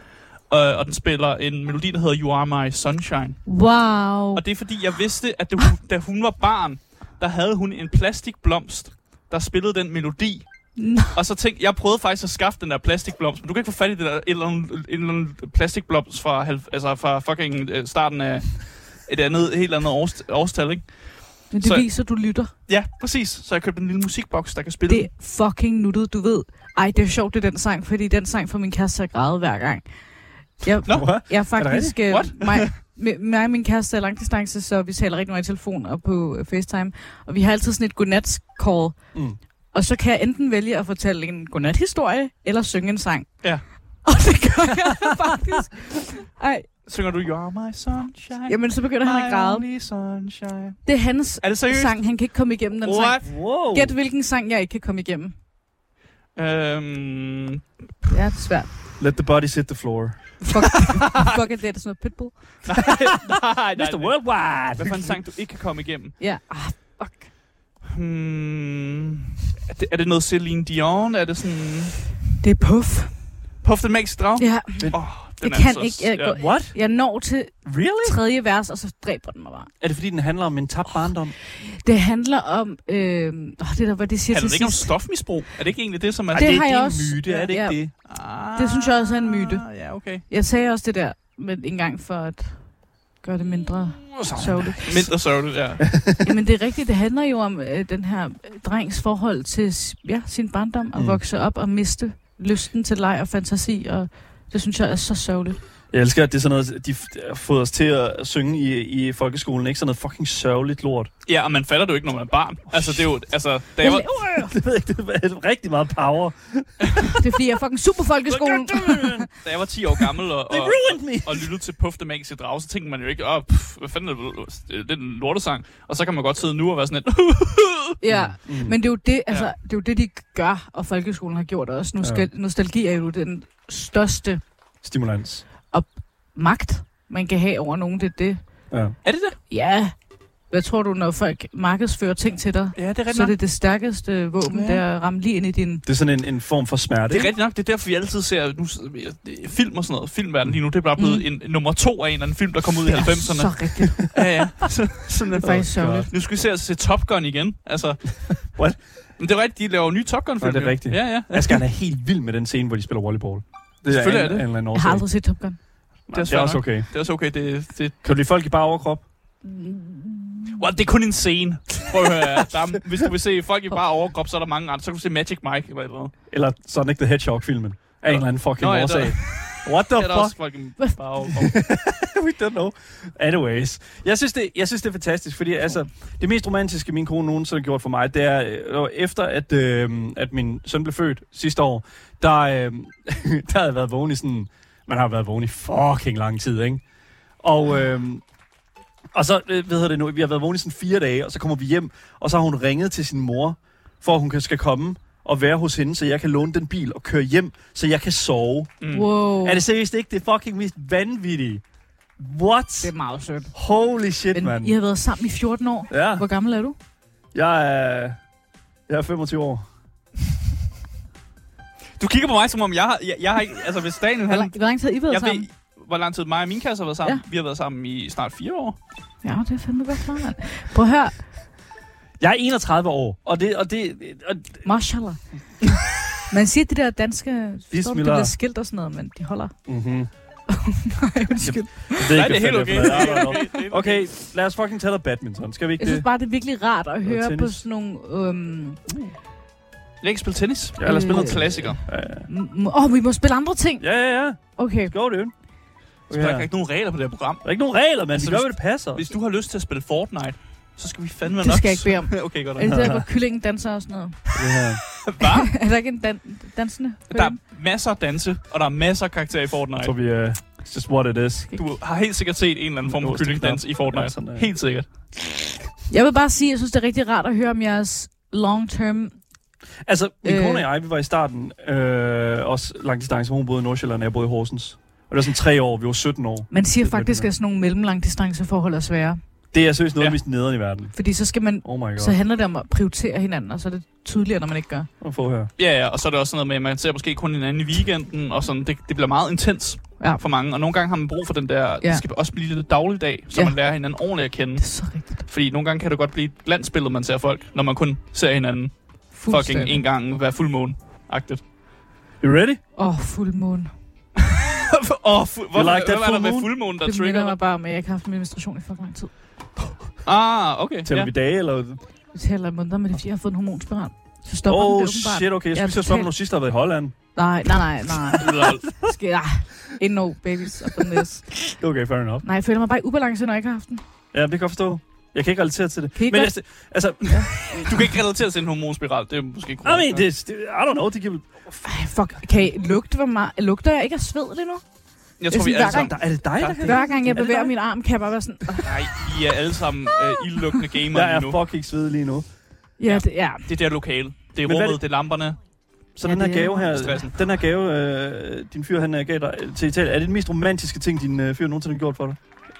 Speaker 3: Og, og den spiller en melodi, der hedder You Are My Sunshine.
Speaker 4: Wow.
Speaker 3: Og det er fordi, jeg vidste, at det, hun- da hun var barn, der havde hun en plastikblomst, der spillede den melodi.
Speaker 4: Nå.
Speaker 3: Og så tænkte jeg, prøvede faktisk at skaffe den der plastikblomst, men du kan ikke få fat i det der en eller anden, en eller anden plastikblomst fra, halv- altså fra fucking øh, starten af et andet, helt andet årst- årstal, ikke?
Speaker 4: Men det
Speaker 3: Så-
Speaker 4: viser, du lytter.
Speaker 3: Ja, præcis. Så jeg købte en lille musikboks, der kan spille
Speaker 4: Det er fucking nuttet, du ved. Ej, det er sjovt, det er den sang, fordi den sang får min kæreste til at græde hver gang. Jeg,
Speaker 3: Nå,
Speaker 4: jeg er faktisk... øh,
Speaker 3: What?
Speaker 4: mig, mi- mig og min kæreste er langdistance, så vi taler rigtig meget i telefon og på øh, FaceTime. Og vi har altid sådan et godnat-call.
Speaker 2: Mm.
Speaker 4: Og så kan jeg enten vælge at fortælle en godnat-historie, eller synge en sang.
Speaker 3: Ja.
Speaker 4: Og det gør jeg faktisk. Ej,
Speaker 3: Synger du You're my sunshine?
Speaker 4: jamen så begynder han at græde.
Speaker 3: My only sunshine.
Speaker 4: Det er hans
Speaker 3: Er det seriøst?
Speaker 4: sang, han kan ikke komme igennem den sang.
Speaker 3: What?
Speaker 2: Wow.
Speaker 4: Gæt hvilken sang, jeg ikke kan komme igennem.
Speaker 3: Øhm,
Speaker 4: Ja, det er svært.
Speaker 2: Let the body sit the floor.
Speaker 4: Fuck, fuck it, det er sådan noget pitbull.
Speaker 3: nej, nej, nej.
Speaker 2: Mr. Worldwide.
Speaker 3: Hvad for en sang, du ikke kan komme igennem?
Speaker 4: Ja, ah, fuck.
Speaker 3: Hmm, er, det, er det noget Celine Dion? Er det sådan...
Speaker 4: Det er puff.
Speaker 3: Puff the Magic Drag?
Speaker 4: Ja,
Speaker 3: Oh,
Speaker 4: det kan ikke. Jeg, går,
Speaker 2: What?
Speaker 4: jeg når til
Speaker 2: Really?
Speaker 4: tredje vers, og så dræber den mig bare.
Speaker 2: Er det fordi, den handler om en tabt barndom?
Speaker 4: Det handler om... Øh, åh, det der, hvor det siger
Speaker 3: Handler
Speaker 4: til
Speaker 3: det ikke om
Speaker 4: sidst.
Speaker 3: stofmisbrug? Er det ikke egentlig det, som er...
Speaker 2: Ej,
Speaker 4: det
Speaker 2: det,
Speaker 4: har
Speaker 2: det
Speaker 4: jeg
Speaker 2: er en
Speaker 4: også.
Speaker 2: myte, er det ikke
Speaker 4: Ja.
Speaker 2: det?
Speaker 3: Ah,
Speaker 4: Det synes jeg også er en myte.
Speaker 3: Ja, okay.
Speaker 4: Jeg sagde også det der, men en gang for at gøre det mindre sørgeligt.
Speaker 3: Mindre sørgeligt, ja.
Speaker 4: Jamen det er rigtigt, det handler jo om øh, den her øh, drengs forhold til s- ja, sin barndom, at
Speaker 2: Mm.
Speaker 4: vokse op og miste lysten til leg og fantasi, og det synes jeg er så sørgeligt.
Speaker 2: Jeg elsker, at det er sådan noget, de f- har fået os til at synge i, i folkeskolen. Ikke sådan noget fucking sørgeligt lort.
Speaker 3: Ja, og man fatter det jo ikke, når man er barn. Altså, det er jo... Altså, da
Speaker 4: Jeg
Speaker 3: jeg var...
Speaker 4: laver-
Speaker 2: Det ved jeg ikke, det er rigtig meget power.
Speaker 4: Det er fordi, jeg er fucking super folkeskolen.
Speaker 3: Da jeg var 10 år gammel og,
Speaker 2: They
Speaker 3: og,
Speaker 2: ruined me!
Speaker 3: og lyttede til Puff the Magic Drag, så tænkte man jo ikke, åh, pff, hvad fanden er det, det er en lortesang. Og så kan man godt sidde nu og være sådan lidt,
Speaker 4: Ja,
Speaker 2: Mm.
Speaker 4: men det er jo det, altså,
Speaker 3: Ja.
Speaker 4: det er jo det, de gør, og folkeskolen har gjort også. Nostal-
Speaker 2: Ja.
Speaker 4: Nostalgi er jo den største
Speaker 2: Stimulans.
Speaker 4: magt, man kan have over nogen. Det er det.
Speaker 2: Ja.
Speaker 3: er det det?
Speaker 4: Ja, hvad tror du, når folk markedsfører ting til dig?
Speaker 3: Ja, det er
Speaker 4: Så er
Speaker 3: rigtigt nok.
Speaker 4: det det stærkeste våben,
Speaker 3: Ja.
Speaker 4: ja. der er at ramme lige ind i din...
Speaker 2: Det er sådan en, en form for smerte.
Speaker 3: Det er
Speaker 2: ikke?
Speaker 3: rigtigt nok, det er derfor, vi altid ser nu, øh, film og sådan noget. Filmverden lige nu, det er bare blevet en, nummer to af en eller anden film, der kom ud i 90'erne.
Speaker 4: Så rigtigt.
Speaker 3: Ja, ja. Så- Sådan er
Speaker 4: Det er faktisk
Speaker 2: Åh,
Speaker 4: sørgeligt.
Speaker 3: Nu skal vi se at se Top Gun igen. Altså,
Speaker 2: What?
Speaker 3: Men det er rigtigt, de laver nye Top Gun-film.
Speaker 2: Nå, det er
Speaker 3: jo.
Speaker 2: rigtigt.
Speaker 3: Ja, ja.
Speaker 2: Asger, han er helt vild med den scene, hvor de spiller volleyball. Det
Speaker 3: Selvfølgelig
Speaker 2: af
Speaker 3: er det.
Speaker 2: En, af en eller anden
Speaker 4: Jeg har
Speaker 2: årsag.
Speaker 4: aldrig set Top Gun.
Speaker 2: Det er, det er også okay.
Speaker 3: Det er også okay. Det, det,
Speaker 2: Kan du lide folk i bare overkrop? Mm.
Speaker 3: well, det er kun en scene. Prøv at høre. Der er, hvis du vil se folk i bare overkrop, så er der mange andre. Så kan du se Magic Mike eller et eller andet.
Speaker 2: Eller Sonic the Hedgehog-filmen? Af en eller anden fucking
Speaker 3: Nå, ja, der-
Speaker 2: årsag. What the
Speaker 3: Det er der
Speaker 2: fuck?
Speaker 3: også folk i bare overkrop.
Speaker 2: We don't know. Anyways. Jeg synes, det, jeg synes, det er fantastisk, fordi altså, det mest romantiske, min kone nogensinde har gjort for mig, det er, øh, det var efter at, øh, at min søn blev født sidste år, der, øh, der havde jeg været vågen i sådan... Man har været vågen i fucking lang tid, ikke? Og, øh, og så, øh, hvad hedder det nu, vi har været vågen i sådan fire dage, og så kommer vi hjem, og så har hun ringet til sin mor, for at hun kan, skal komme og være hos hende, så jeg kan låne den bil og køre hjem, så jeg kan sove.
Speaker 3: Mm.
Speaker 4: Wow.
Speaker 2: Er det seriøst ikke det fucking mest vanvittige? What?
Speaker 4: det er meget sødt.
Speaker 2: Holy shit,
Speaker 4: Men
Speaker 2: mand.
Speaker 4: I har været sammen i 14 år.
Speaker 2: Ja,
Speaker 4: Hvor gammel er du?
Speaker 2: jeg er, jeg er 25 år.
Speaker 3: Du kigger på mig, som om jeg har... Jeg, jeg har ikke, altså, hvis Daniel...
Speaker 4: Hvor
Speaker 3: Han,
Speaker 4: lang, hvor lang tid har I været
Speaker 3: jeg
Speaker 4: sammen?
Speaker 3: ved, hvor lang tid mig og min kasse har været sammen. Ja. Vi har været sammen i snart fire år.
Speaker 4: Ja, det er fandme godt klar, mand. Prøv at høre.
Speaker 2: Jeg er 31 år, og det... Og det og,
Speaker 4: Mashallah. Man siger, at de der danske... Forstår du, det
Speaker 2: Bismillah.
Speaker 4: der skilt og sådan noget, men de holder.
Speaker 2: mm-hmm.
Speaker 4: Nej, undskyld.
Speaker 2: det
Speaker 3: Nej, Mhm. det er helt okay. Det er helt
Speaker 2: okay.
Speaker 3: okay.
Speaker 2: Okay, lad os fucking tale om badminton. Skal vi ikke
Speaker 4: Jeg synes
Speaker 2: det?
Speaker 4: bare, det er virkelig rart at høre på
Speaker 2: tennis.
Speaker 4: sådan nogle... Øhm,
Speaker 3: Jeg kan ikke spille tennis.
Speaker 2: Ja, lad os spille
Speaker 4: Øh.
Speaker 3: Noget klassiker.
Speaker 4: m- m- Åh, vi må spille andre ting.
Speaker 2: Ja, ja, ja.
Speaker 4: Okay.
Speaker 2: Go, dude.
Speaker 3: Så Der er ikke nogen regler på det her program.
Speaker 2: Der er ikke nogen regler, mand.
Speaker 3: Altså,
Speaker 2: De gør,
Speaker 3: hvis-
Speaker 2: hvad det passer.
Speaker 3: Hvis du har lyst til at spille Fortnite, så skal vi fandme nok...
Speaker 4: Det skal jeg ikke bede om.
Speaker 3: okay, godt.
Speaker 4: Er det der, hvor kyllingen danser og sådan noget?
Speaker 2: Det her.
Speaker 3: Hva?
Speaker 4: er der ikke en dan- dansende?
Speaker 3: Der er masser af danse, og der er masser af karakterer i
Speaker 2: Jeg
Speaker 3: Fortnite.
Speaker 2: tror, vi er... øh, It's just what it is.
Speaker 3: Du har helt sikkert set en eller anden form
Speaker 2: Nu
Speaker 3: for
Speaker 2: er det
Speaker 3: kyllingdans
Speaker 2: knap.
Speaker 3: i
Speaker 2: Ja,
Speaker 3: Fortnite.
Speaker 2: sådan er det.
Speaker 3: Helt sikkert.
Speaker 4: Jeg vil bare sige, at jeg synes, det er rigtig rart at høre om jeres long-term...
Speaker 2: Altså, min
Speaker 4: Øh.
Speaker 2: kone og jeg, vi var i starten øh, også lang distance, hvor hun boede i Nordsjælland, og jeg boede i Horsens. Og det var sådan tre år, vi var 17 år.
Speaker 4: Man siger
Speaker 2: Det er
Speaker 4: faktisk,
Speaker 2: lidt
Speaker 4: at sådan nogle mellemlangdistanceforhold er svære.
Speaker 2: Det er seriøst noget af
Speaker 3: Ja.
Speaker 2: det mest nederen i verden.
Speaker 4: Fordi så, skal man,
Speaker 2: Oh my god.
Speaker 4: så handler det om at prioritere hinanden, og så er det tydeligere, når man ikke gør.
Speaker 2: Prøv at få her.
Speaker 3: Ja, ja, og så er det også sådan noget med, at man ser måske kun hinanden i weekenden, og sådan, det, det bliver meget intens
Speaker 4: Ja.
Speaker 3: for mange. Og nogle gange har man brug for den der,
Speaker 4: Ja.
Speaker 3: det skal også blive lidt dagligdag, så
Speaker 4: Ja.
Speaker 3: man lærer hinanden ordentligt at kende.
Speaker 4: Det er så rigtigt.
Speaker 3: Fordi nogle gange kan det godt blive et glansbillede, man ser folk, når man kun ser hinanden fucking en gang hver fuldmåne. Agtigt.
Speaker 2: You ready?
Speaker 4: Åh, oh, fuldmåne.
Speaker 3: Åh, oh, fu- hvor,
Speaker 2: like that
Speaker 3: hvad var der
Speaker 2: full
Speaker 3: med
Speaker 2: moon?
Speaker 3: fuldmånen, der
Speaker 4: Det minder
Speaker 3: trigger
Speaker 4: mig
Speaker 3: dig?
Speaker 4: bare om, at jeg ikke har haft min menstruation i fucking lang tid.
Speaker 3: Ah, okay.
Speaker 2: Tæller
Speaker 3: ja.
Speaker 2: vi dage, eller?
Speaker 4: Jeg taler i måneder, men det er fordi, jeg har fået en hormonspiral. Så stopper oh,
Speaker 2: Oh
Speaker 4: den det åbenbart.
Speaker 2: shit, okay. Jeg
Speaker 4: Ja,
Speaker 2: skulle til at spørge,
Speaker 4: totalt.
Speaker 2: når sidst har været i Holland.
Speaker 4: Nej, nej, nej, nej.
Speaker 3: Lol.
Speaker 4: Skal jeg? Ah, no babies up on this.
Speaker 2: Okay, fair enough.
Speaker 4: Nej, jeg føler mig bare i ubalance, når jeg ikke har haft den.
Speaker 2: Ja, det kan jeg forstå. Jeg kan ikke relatere til det.
Speaker 4: Kan I
Speaker 2: Men
Speaker 4: godt?
Speaker 2: altså, altså
Speaker 3: Du kan ikke relatere til en hormonspiral, det er måske
Speaker 2: I
Speaker 3: korrekt.
Speaker 2: mean, det, det, I don't know, det giver
Speaker 4: Ej, fuck. Kan I lugte, hvor meget... Lugter jeg ikke af sved lige nu?
Speaker 3: Jeg tror, vi
Speaker 4: synes,
Speaker 3: alle
Speaker 4: der er
Speaker 3: sammen...
Speaker 2: Der, er det dig, der kan
Speaker 4: Hver gang jeg
Speaker 2: Er det
Speaker 4: bevæger
Speaker 2: dig?
Speaker 4: min arm, kan jeg bare være sådan... "Åh,
Speaker 3: Nej, I er alle sammen øh, ildlukkende
Speaker 2: Jeg
Speaker 3: gamere
Speaker 2: er
Speaker 3: lige nu.
Speaker 2: fucking sved lige nu.
Speaker 4: Ja, det, ja.
Speaker 3: Det er der lokale. Det er
Speaker 2: Men hvad er
Speaker 3: rummet,
Speaker 2: det-
Speaker 3: det er lamperne.
Speaker 2: Så
Speaker 4: Ja,
Speaker 2: den her
Speaker 4: det er
Speaker 2: gave her,
Speaker 3: stressen.
Speaker 2: den her gave, øh, din fyr han øh, gav dig til Italien, er det den mest romantiske ting, din øh, fyr nogensinde har gjort for dig?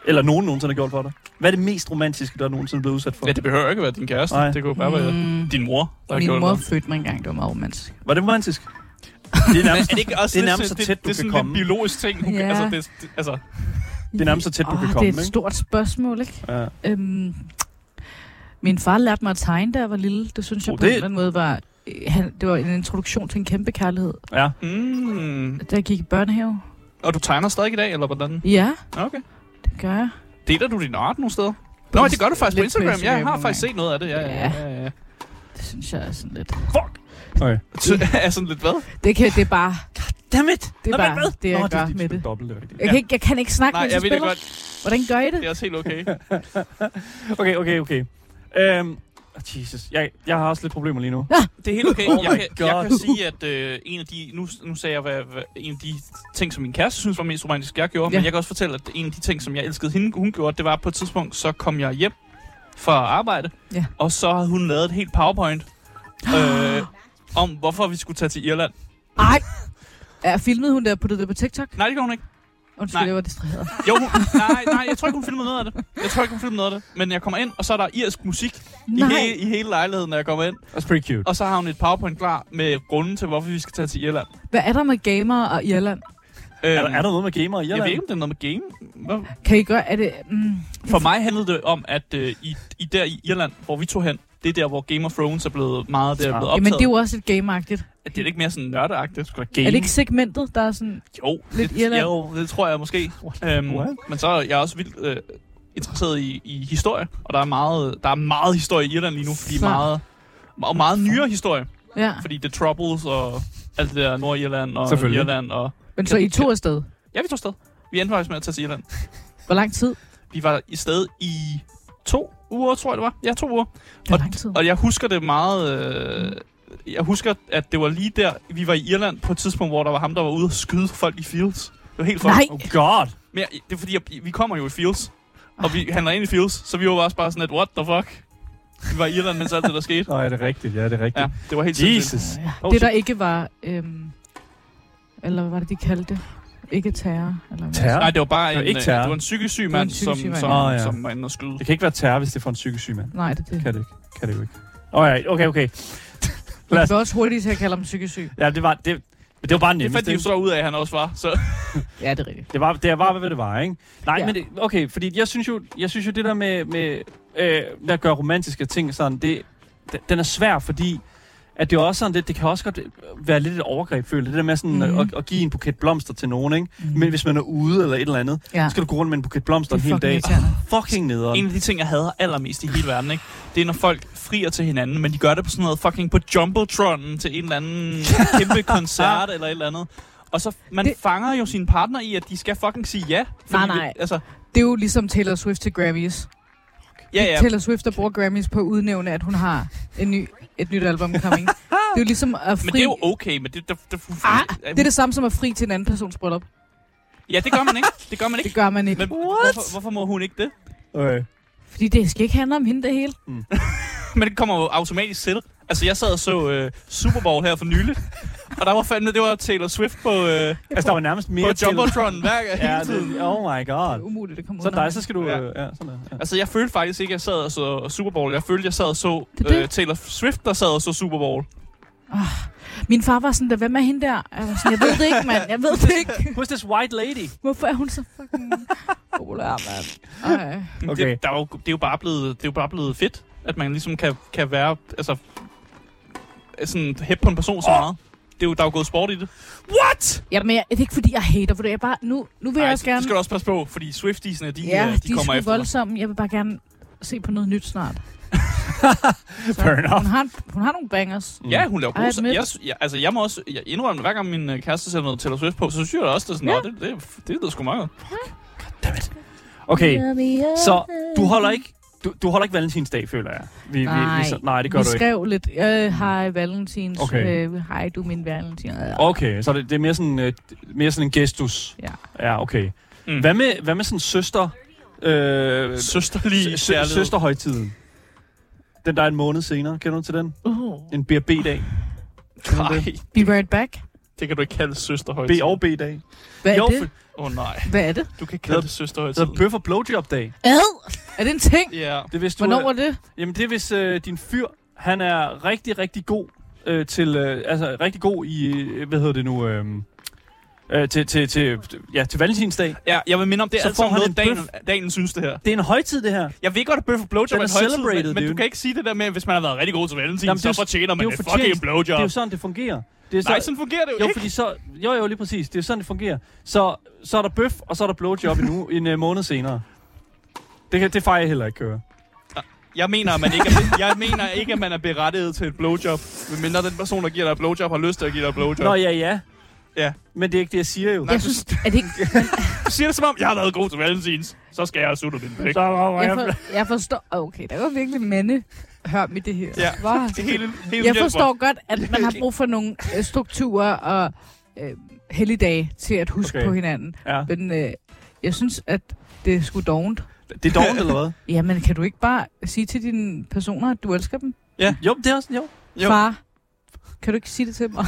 Speaker 2: Eller nogen nogensinde har gjort for dig? Hvad er det mest romantiske, der er nogensinde blevet udsat for?
Speaker 3: Ja, det behøver ikke at være din kæreste.
Speaker 2: Nej.
Speaker 3: Det kunne bare være
Speaker 4: Mm.
Speaker 3: din mor, der har
Speaker 4: Min
Speaker 3: gjort
Speaker 4: mor
Speaker 3: noget.
Speaker 4: fødte mig engang, det var meget romantisk.
Speaker 2: Var det romantisk? Det er
Speaker 3: Men
Speaker 2: nærmest,
Speaker 3: er det ikke også
Speaker 2: det er
Speaker 3: lidt
Speaker 2: nærmest så
Speaker 3: sådan-
Speaker 2: tæt, du
Speaker 3: det, det
Speaker 2: kan
Speaker 3: er sådan
Speaker 2: komme.
Speaker 3: en biologisk ting. Du
Speaker 4: Ja.
Speaker 3: kan, altså, det, det, altså,
Speaker 2: det er nærmest så tæt, du kan komme,
Speaker 4: Åh, det er et
Speaker 2: ikke?
Speaker 4: stort spørgsmål, ikke?
Speaker 2: Ja.
Speaker 4: Øhm, min far lærte mig at tegne, da jeg var lille. Det synes jeg
Speaker 2: Oh,
Speaker 4: oh, på det...
Speaker 2: det-
Speaker 4: en eller anden måde var... øh, Han, det var en introduktion til en kæmpe kærlighed,
Speaker 2: ja.
Speaker 3: mm.
Speaker 4: da jeg gik i børnehave.
Speaker 3: Og du tegner stadig i dag, eller hvordan?
Speaker 4: Ja,
Speaker 3: Okay.
Speaker 4: det gør jeg.
Speaker 3: Deler du din art nogle steder? Nå, det gør du faktisk på
Speaker 4: Lidt på
Speaker 3: Instagram. Ja, jeg
Speaker 4: Instagram
Speaker 3: har
Speaker 4: nogle
Speaker 3: faktisk
Speaker 4: gange.
Speaker 3: set noget af det. Ja, ja, ja. ja, ja.
Speaker 4: Det synes jeg er sådan lidt...
Speaker 2: Okay.
Speaker 3: Så er sådan lidt hvad?
Speaker 4: Det, kan, det er bare
Speaker 2: Dammit!
Speaker 4: det, er bare, det jeg gør med det.
Speaker 2: Dobbelt, det er rigtigt.
Speaker 4: Jeg kan, ikke, jeg kan ikke snakke,
Speaker 3: Nej,
Speaker 4: mens
Speaker 3: jeg ved det
Speaker 4: spiller.
Speaker 3: godt.
Speaker 4: Hvordan gør I det?
Speaker 3: Det er også helt okay.
Speaker 2: Okay, okay, okay. Øhm, Jesus, jeg, jeg har også lidt problemer lige nu.
Speaker 3: Det er helt okay.
Speaker 2: Oh my
Speaker 3: jeg, kan, jeg
Speaker 2: God.
Speaker 3: kan sige, at øh, en af de... Nu, nu sagde jeg, hvad, hvad, en af de ting, som min kæreste synes var mest romantisk, jeg gjorde. Ja.
Speaker 4: Ja.
Speaker 3: Men jeg kan også fortælle, at en af de ting, som jeg elskede hende, hun gjorde, det var på et tidspunkt, så kom jeg hjem fra arbejde.
Speaker 4: Ja.
Speaker 3: Og så havde hun lavet et helt powerpoint øh, om, hvorfor vi skulle tage til Irland.
Speaker 4: Ej! Er filmede hun der på det der på TikTok?
Speaker 3: Nej, det gjorde hun ikke.
Speaker 4: Undskyld,
Speaker 3: Nej.
Speaker 4: jeg var distraheret.
Speaker 3: Jo, hun, nej, nej, jeg tror ikke, hun filmede noget af det. Jeg tror ikke, hun filmede noget af det. Men jeg kommer ind, og så er der irsk musik i,
Speaker 4: Nej.
Speaker 3: hele, i hele lejligheden, når jeg kommer ind.
Speaker 2: That's pretty cute.
Speaker 3: Og så har hun et powerpoint klar med grunden til, hvorfor vi skal tage til Irland.
Speaker 4: Hvad er der med gamere og Irland?
Speaker 3: Øh,
Speaker 2: Er, der- er der noget med gamer i
Speaker 3: jeg ved
Speaker 2: Irland?
Speaker 3: ikke, om det er noget med game. Hvad?
Speaker 4: Kan I gøre, er det... Mm,
Speaker 3: For mig handlede det om, at øh, i, i der i Irland, hvor vi tog hen, det er der, hvor Game of Thrones er blevet meget der er blevet optaget.
Speaker 4: jamen, det er jo også lidt gameagtigt.
Speaker 3: det er ikke mere sådan nørdeagtigt. Sgu da
Speaker 4: Er
Speaker 3: game.
Speaker 4: det ikke segmentet, der er sådan...
Speaker 3: Jo,
Speaker 4: lidt
Speaker 3: det,
Speaker 4: Irland?
Speaker 3: jo, det tror jeg måske. Øhm,
Speaker 2: What?
Speaker 3: men så er jeg også vildt øh, interesseret i, i historie, og der er, meget, der er meget historie i Irland lige nu, fordi
Speaker 4: Så.
Speaker 3: meget, og meget nyere historie,
Speaker 4: Ja,
Speaker 3: fordi The Troubles og alt det der Nordirland og
Speaker 2: Selvfølgelig.
Speaker 3: Irland. Og,
Speaker 4: men så I to afsted.
Speaker 3: ja, vi tog sted. Vi endte faktisk med at tage til Irland.
Speaker 4: Hvor lang tid?
Speaker 3: Vi var i sted i to uger, tror jeg det var. Ja, to uger.
Speaker 4: Hvor lang tid?
Speaker 3: Og jeg husker det meget... Øh, jeg husker, at det var lige der, vi var i Irland på et tidspunkt, hvor der var ham, der var ude og skyde folk i Fields. Det var helt fucked.
Speaker 4: Nej!
Speaker 2: Oh god!
Speaker 3: Men jeg, det er fordi, jeg, vi kommer jo i Fields, og vi handler ind i Fields, så vi var også bare sådan et, what the fuck? Vi var i Irland, mens alt det der skete.
Speaker 2: Nej, det er rigtigt, ja, det er rigtigt.
Speaker 3: Ja, det var helt sindssygt.
Speaker 2: Jesus!
Speaker 4: Ja,
Speaker 2: Oh,
Speaker 4: det,
Speaker 2: shit.
Speaker 4: der ikke var... Øhm, eller hvad var det, de kaldte det? Ikke terror? Eller hvad?
Speaker 2: Terror?
Speaker 3: Nej, det var bare
Speaker 2: Det var
Speaker 3: en,
Speaker 2: ikke
Speaker 3: øh,
Speaker 2: terror.
Speaker 3: det var en psykisk syg
Speaker 4: Det var en
Speaker 3: mand,
Speaker 4: psykisk
Speaker 3: som,
Speaker 4: syg mand.
Speaker 3: som,
Speaker 2: Åh, ja.
Speaker 3: som var inde og skyde.
Speaker 2: Det kan ikke være terror, hvis det er for en psykisk syg mand.
Speaker 4: Nej, det er det.
Speaker 2: Kan det ikke. Kan det jo ikke. Alright, okay, okay.
Speaker 4: Vi
Speaker 2: Lad os-
Speaker 4: var også hurtigt til at kalde ham psykisk syg.
Speaker 2: Ja, det var, det, men det var bare
Speaker 3: Det
Speaker 2: nemmest.
Speaker 3: fandt de jo så ud af, at han også var. Så
Speaker 4: Ja, det er rigtigt.
Speaker 2: Det var, det var, hvad det var, ikke? Nej, ja.
Speaker 4: Ja.
Speaker 2: men det, okay, fordi jeg synes jo, jeg synes jo det der med, med øh, at gøre romantiske ting sådan, det, d- den er svær, fordi at det er også sådan lidt, det kan også godt være lidt et overgreb, føler jeg. det der med sådan mm.
Speaker 4: Mhm.
Speaker 2: at, at, give en buket blomster til nogen, ikke? Mm.
Speaker 4: Mhm.
Speaker 2: Men hvis man er ude eller et eller andet,
Speaker 4: Ja.
Speaker 2: så skal du gå rundt med en buket blomster en
Speaker 4: Det er
Speaker 2: hel
Speaker 4: fucking
Speaker 2: dag.
Speaker 4: irriterende.
Speaker 2: Fucking nederen.
Speaker 3: en af de ting, jeg hader allermest i hele verden, ikke? det er, når folk frier til hinanden, men de gør det på sådan noget fucking på Jumbotronen til en eller anden kæmpe koncert eller et eller andet. Og så, man det...
Speaker 4: Det-
Speaker 3: fanger jo sin partner i, at de skal fucking sige ja.
Speaker 4: Nej,
Speaker 3: vi-
Speaker 4: nej.
Speaker 3: altså,
Speaker 4: Det er jo ligesom Taylor Swift til Grammys.
Speaker 3: ja, ja.
Speaker 4: Taylor Swift, der bruger Grammys på at udnævne, at hun har en ny, et nyt album coming. det er jo ligesom at fri...
Speaker 3: Men det er jo okay, men det... Der, der,
Speaker 4: Ah,
Speaker 3: der,
Speaker 4: det er det samme som at fri til en anden persons bryllup.
Speaker 3: Ja, det gør man ikke. Det gør man ikke.
Speaker 4: Det gør man ikke.
Speaker 3: Men hvorfor, hvorfor må hun ikke det?
Speaker 2: Okay.
Speaker 4: Fordi det skal ikke handle om hende det hele.
Speaker 3: Men det kommer jo automatisk til. Altså, jeg sad og så øh, Super Bowl her for nylig, og der var fandme, det var Taylor Swift på, øh,
Speaker 2: Altså, der var nærmest mere
Speaker 3: på
Speaker 2: til-
Speaker 3: Jumbotron hver
Speaker 2: Ja,
Speaker 3: hele tiden.
Speaker 2: det, oh my
Speaker 4: Det er
Speaker 2: god.
Speaker 4: umuligt at komme
Speaker 2: Så
Speaker 4: udenom.
Speaker 2: dig, så skal du...
Speaker 3: Ja.
Speaker 2: øh, Ja, sådan der. Ja.
Speaker 3: Altså, jeg følte faktisk ikke, at jeg sad og så Super Bowl. Jeg følte, jeg sad og så
Speaker 4: Det er det.
Speaker 3: øh, Taylor Swift, der sad og så Super Bowl.
Speaker 4: Min far var sådan, der, hvem er hende der? Jeg var sådan, jeg ved det ikke, mand. Jeg ved det ikke.
Speaker 2: Who's this white lady?
Speaker 4: Hvorfor er hun så fucking populær, mand? Ej.
Speaker 2: Okay.
Speaker 3: Det, der er jo, det, er jo bare blevet, det er jo bare blevet fedt, at man ligesom kan, kan være... Altså, sådan hæppe på en person så
Speaker 2: Åh!
Speaker 3: meget. det er jo, der er jo gået sport i det. What?
Speaker 4: Ja, men jeg, det er ikke, fordi jeg hater, for det er bare... Nu, nu vil jeg også
Speaker 3: det
Speaker 4: gerne...
Speaker 3: skal du også passe på, fordi Swiftiesene, de,
Speaker 4: ja,
Speaker 2: øh,
Speaker 3: ja, de, de
Speaker 4: er sgu
Speaker 3: kommer efter dig.
Speaker 4: voldsomme. Jeg vil bare gerne se på noget nyt snart. Så
Speaker 2: Fair enough.
Speaker 4: Hun har, hun har nogle bangers.
Speaker 2: Mm.
Speaker 3: Ja, hun laver
Speaker 4: Ej,
Speaker 3: gode sange.
Speaker 4: admit.
Speaker 3: Jeg, jeg, altså, jeg må også jeg indrømme, hver gang min øh, kæreste sætter noget Taylor Swift på, så synes jeg også, det er sådan,
Speaker 4: Ja.
Speaker 3: ja. det, det, det lyder sgu meget godt.
Speaker 2: Okay, så du holder ikke... Du, du holder ikke valentinsdag, føler jeg. Vi, Vi,
Speaker 4: Nej.
Speaker 2: vi, så- nej, det gør
Speaker 4: vi
Speaker 2: du ikke.
Speaker 4: skrev lidt, øh, hej Valentins,
Speaker 2: Okay.
Speaker 4: okay. øh, hej du er min Valentin.
Speaker 2: Okay, så det, det er mere sådan, øh, mere sådan en gestus.
Speaker 4: Ja.
Speaker 2: Ja, okay.
Speaker 3: Mm.
Speaker 2: Hvad med, hvad med sådan søster... Øh,
Speaker 3: Søsterlig
Speaker 2: sø-
Speaker 3: kærlighed.
Speaker 2: søsterhøjtiden? Den, der er en måned senere. Kender du til den?
Speaker 4: Uh.
Speaker 2: En B&B-dag.
Speaker 3: Nej,
Speaker 4: Be right back.
Speaker 3: det kan du ikke kalde søsterhøjt.
Speaker 2: B og B-dag.
Speaker 4: Hvad
Speaker 2: Jo,
Speaker 4: er
Speaker 2: for-
Speaker 4: det?
Speaker 3: Åh oh, nej,
Speaker 4: Hvad er det?
Speaker 3: du kan ikke
Speaker 2: hedder-
Speaker 3: kalde det søsterhøjt.
Speaker 2: Det hedder bøf og blowjob-dag.
Speaker 4: Ad! Er det en ting?
Speaker 3: Ja.
Speaker 2: Det er, hvis du, øh,
Speaker 4: Hvornår var det?
Speaker 2: Jamen det er hvis øh, din fyr, han er rigtig, rigtig god øh, til, øh, altså rigtig god i, øh, hvad hedder det nu, øh, øh, til, til, til, ja, til valentinsdag.
Speaker 3: ja, jeg vil minde om, det
Speaker 2: Så
Speaker 3: er alt
Speaker 2: får
Speaker 3: sammen
Speaker 2: han
Speaker 3: noget,
Speaker 2: en
Speaker 3: dagen, dagen synes det her.
Speaker 2: Det er en højtid det her.
Speaker 3: Jeg ved godt, at bøf og blowjob
Speaker 2: Den
Speaker 3: er
Speaker 2: er
Speaker 3: en højtid,
Speaker 2: celebrated,
Speaker 3: men, men du
Speaker 2: dude.
Speaker 3: kan ikke sige det der med, at hvis man har været rigtig god til valentin,
Speaker 2: Jamen, det er
Speaker 3: så
Speaker 2: jo-
Speaker 3: fortjener man
Speaker 2: jo
Speaker 3: en
Speaker 2: fortjenest.
Speaker 3: fucking blowjob.
Speaker 2: Det er jo sådan, det fungerer. Det er
Speaker 3: Nej, sådan fungerer det jo,
Speaker 2: jo,
Speaker 3: ikke.
Speaker 2: fordi så, jo, jo, lige præcis. Det er sådan, det fungerer. Så, så er der bøf, og så er der blowjob endnu en øh, måned senere. Det, kan, det fejrer jeg heller ikke køre.
Speaker 3: Jeg mener, at man ikke er, jeg mener ikke, at man er berettiget til et blowjob, medmindre den person, der giver dig et blowjob, har lyst til at give dig et blowjob.
Speaker 2: Nå, ja, ja.
Speaker 3: Ja.
Speaker 2: Men det er ikke det, jeg siger jo.
Speaker 3: Nej,
Speaker 4: Jeg
Speaker 3: du-
Speaker 4: synes, er det ikke...
Speaker 3: Du siger det som om, jeg har været god til Valentins, så skal jeg have suttet min pæk.
Speaker 2: Så, hvor
Speaker 4: Jeg, for, jeg forstår... Okay, der var virkelig mande hør med det her.
Speaker 3: Ja.
Speaker 4: Wow.
Speaker 3: Det er hele, hele
Speaker 4: Jeg forstår godt, at man har brug for nogle øh, strukturer og øh, helligdage til at huske
Speaker 2: Okay.
Speaker 4: på hinanden.
Speaker 2: Ja.
Speaker 4: Men øh, jeg synes, at det er sgu dovent.
Speaker 2: Det er dårligt, eller hvad?
Speaker 4: Jamen, kan du ikke bare sige til dine personer, at du elsker dem?
Speaker 2: Jo, det er også, jo.
Speaker 3: Jo.
Speaker 4: Jo. Far, kan du ikke sige det til mig?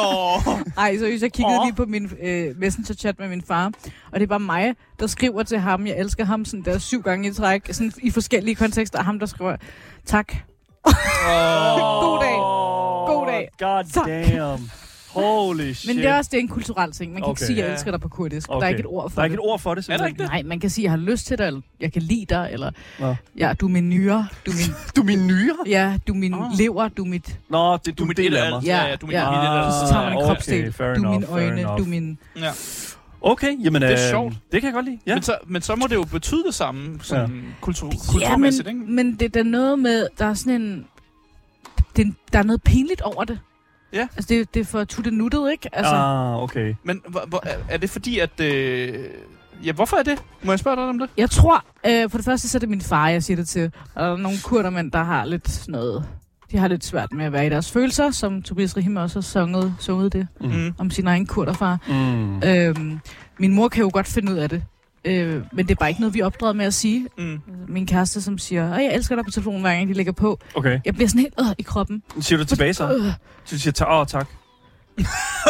Speaker 3: Åh,
Speaker 4: Nej, seriøst, jeg kiggede
Speaker 3: Åh.
Speaker 4: lige på min øh, messenger-chat med min far, og det er bare mig, der skriver til ham, jeg elsker ham sådan der syv gange i træk, sådan i forskellige kontekster, og ham, der skriver, tak. God dag. God dag.
Speaker 2: God
Speaker 4: Tak.
Speaker 2: damn. Holy shit.
Speaker 4: Men det er også det er en kulturel ting. Man kan
Speaker 2: Okay.
Speaker 4: ikke sige, at jeg
Speaker 3: Ja.
Speaker 4: elsker dig på kurdisk. Okay. Der
Speaker 2: Okay.
Speaker 4: er ikke et ord for
Speaker 2: Der er ikke
Speaker 4: det.
Speaker 2: et ord for det,
Speaker 3: Er der ikke
Speaker 2: simpelthen.
Speaker 3: det?
Speaker 4: Nej, man kan sige, at jeg har lyst til dig, eller jeg kan lide dig, eller
Speaker 2: Nå.
Speaker 4: ja, du er min nyre, du er min,
Speaker 2: Du er min nyre?
Speaker 4: ja, du er min
Speaker 3: Åh.
Speaker 4: lever, du er mit...
Speaker 2: Nå, det, du,
Speaker 3: er
Speaker 2: er
Speaker 3: mit
Speaker 2: en del af
Speaker 3: indre.
Speaker 2: mig.
Speaker 3: Ja, ja, du er min
Speaker 4: ja.
Speaker 3: lille-
Speaker 2: Ah,
Speaker 4: Så tager man en
Speaker 2: okay,
Speaker 4: kropsdel.
Speaker 2: fair
Speaker 4: du er mine
Speaker 2: enough, fair
Speaker 4: øjne,
Speaker 2: enough.
Speaker 4: du er min...
Speaker 3: ja.
Speaker 2: Okay, jamen...
Speaker 3: Det er
Speaker 2: øh,
Speaker 3: sjovt.
Speaker 2: Det kan jeg godt lide, ja.
Speaker 3: Men, så, men så må det jo betyde det samme sådan kultur, kulturmæssigt, ikke?
Speaker 4: men, men det er da noget med, der er sådan en... Det, er- der er noget pinligt over det.
Speaker 3: Ja.
Speaker 4: Altså, det, det er for tutte nuttet, ikke? Altså,
Speaker 2: Ah, okay.
Speaker 3: Men hvor, hvor, er er det fordi, at... Øh, ja, hvorfor er det? Må jeg spørge dig om det?
Speaker 4: Jeg tror, øh, for det første, så er det min far, jeg siger det til. Og der er nogle kurdermænd, der har lidt sådan noget... De har lidt svært med at være i deres følelser, som Tobias Rahim også har sunget, sunget det
Speaker 2: Mm.
Speaker 4: om sin egen kurderfar.
Speaker 2: Mm.
Speaker 4: Øhm, min mor kan jo godt finde ud af det. Øh, men det er bare ikke noget, vi er opdraget med at sige.
Speaker 3: Mm.
Speaker 4: Min kæreste, som siger, at jeg elsker dig på telefonen, hver gang de lægger på.
Speaker 2: Okay.
Speaker 4: Jeg bliver sådan helt øh, i kroppen.
Speaker 2: Siger du tilbage så?
Speaker 4: Øh,
Speaker 2: Du siger, ta- åh, tak.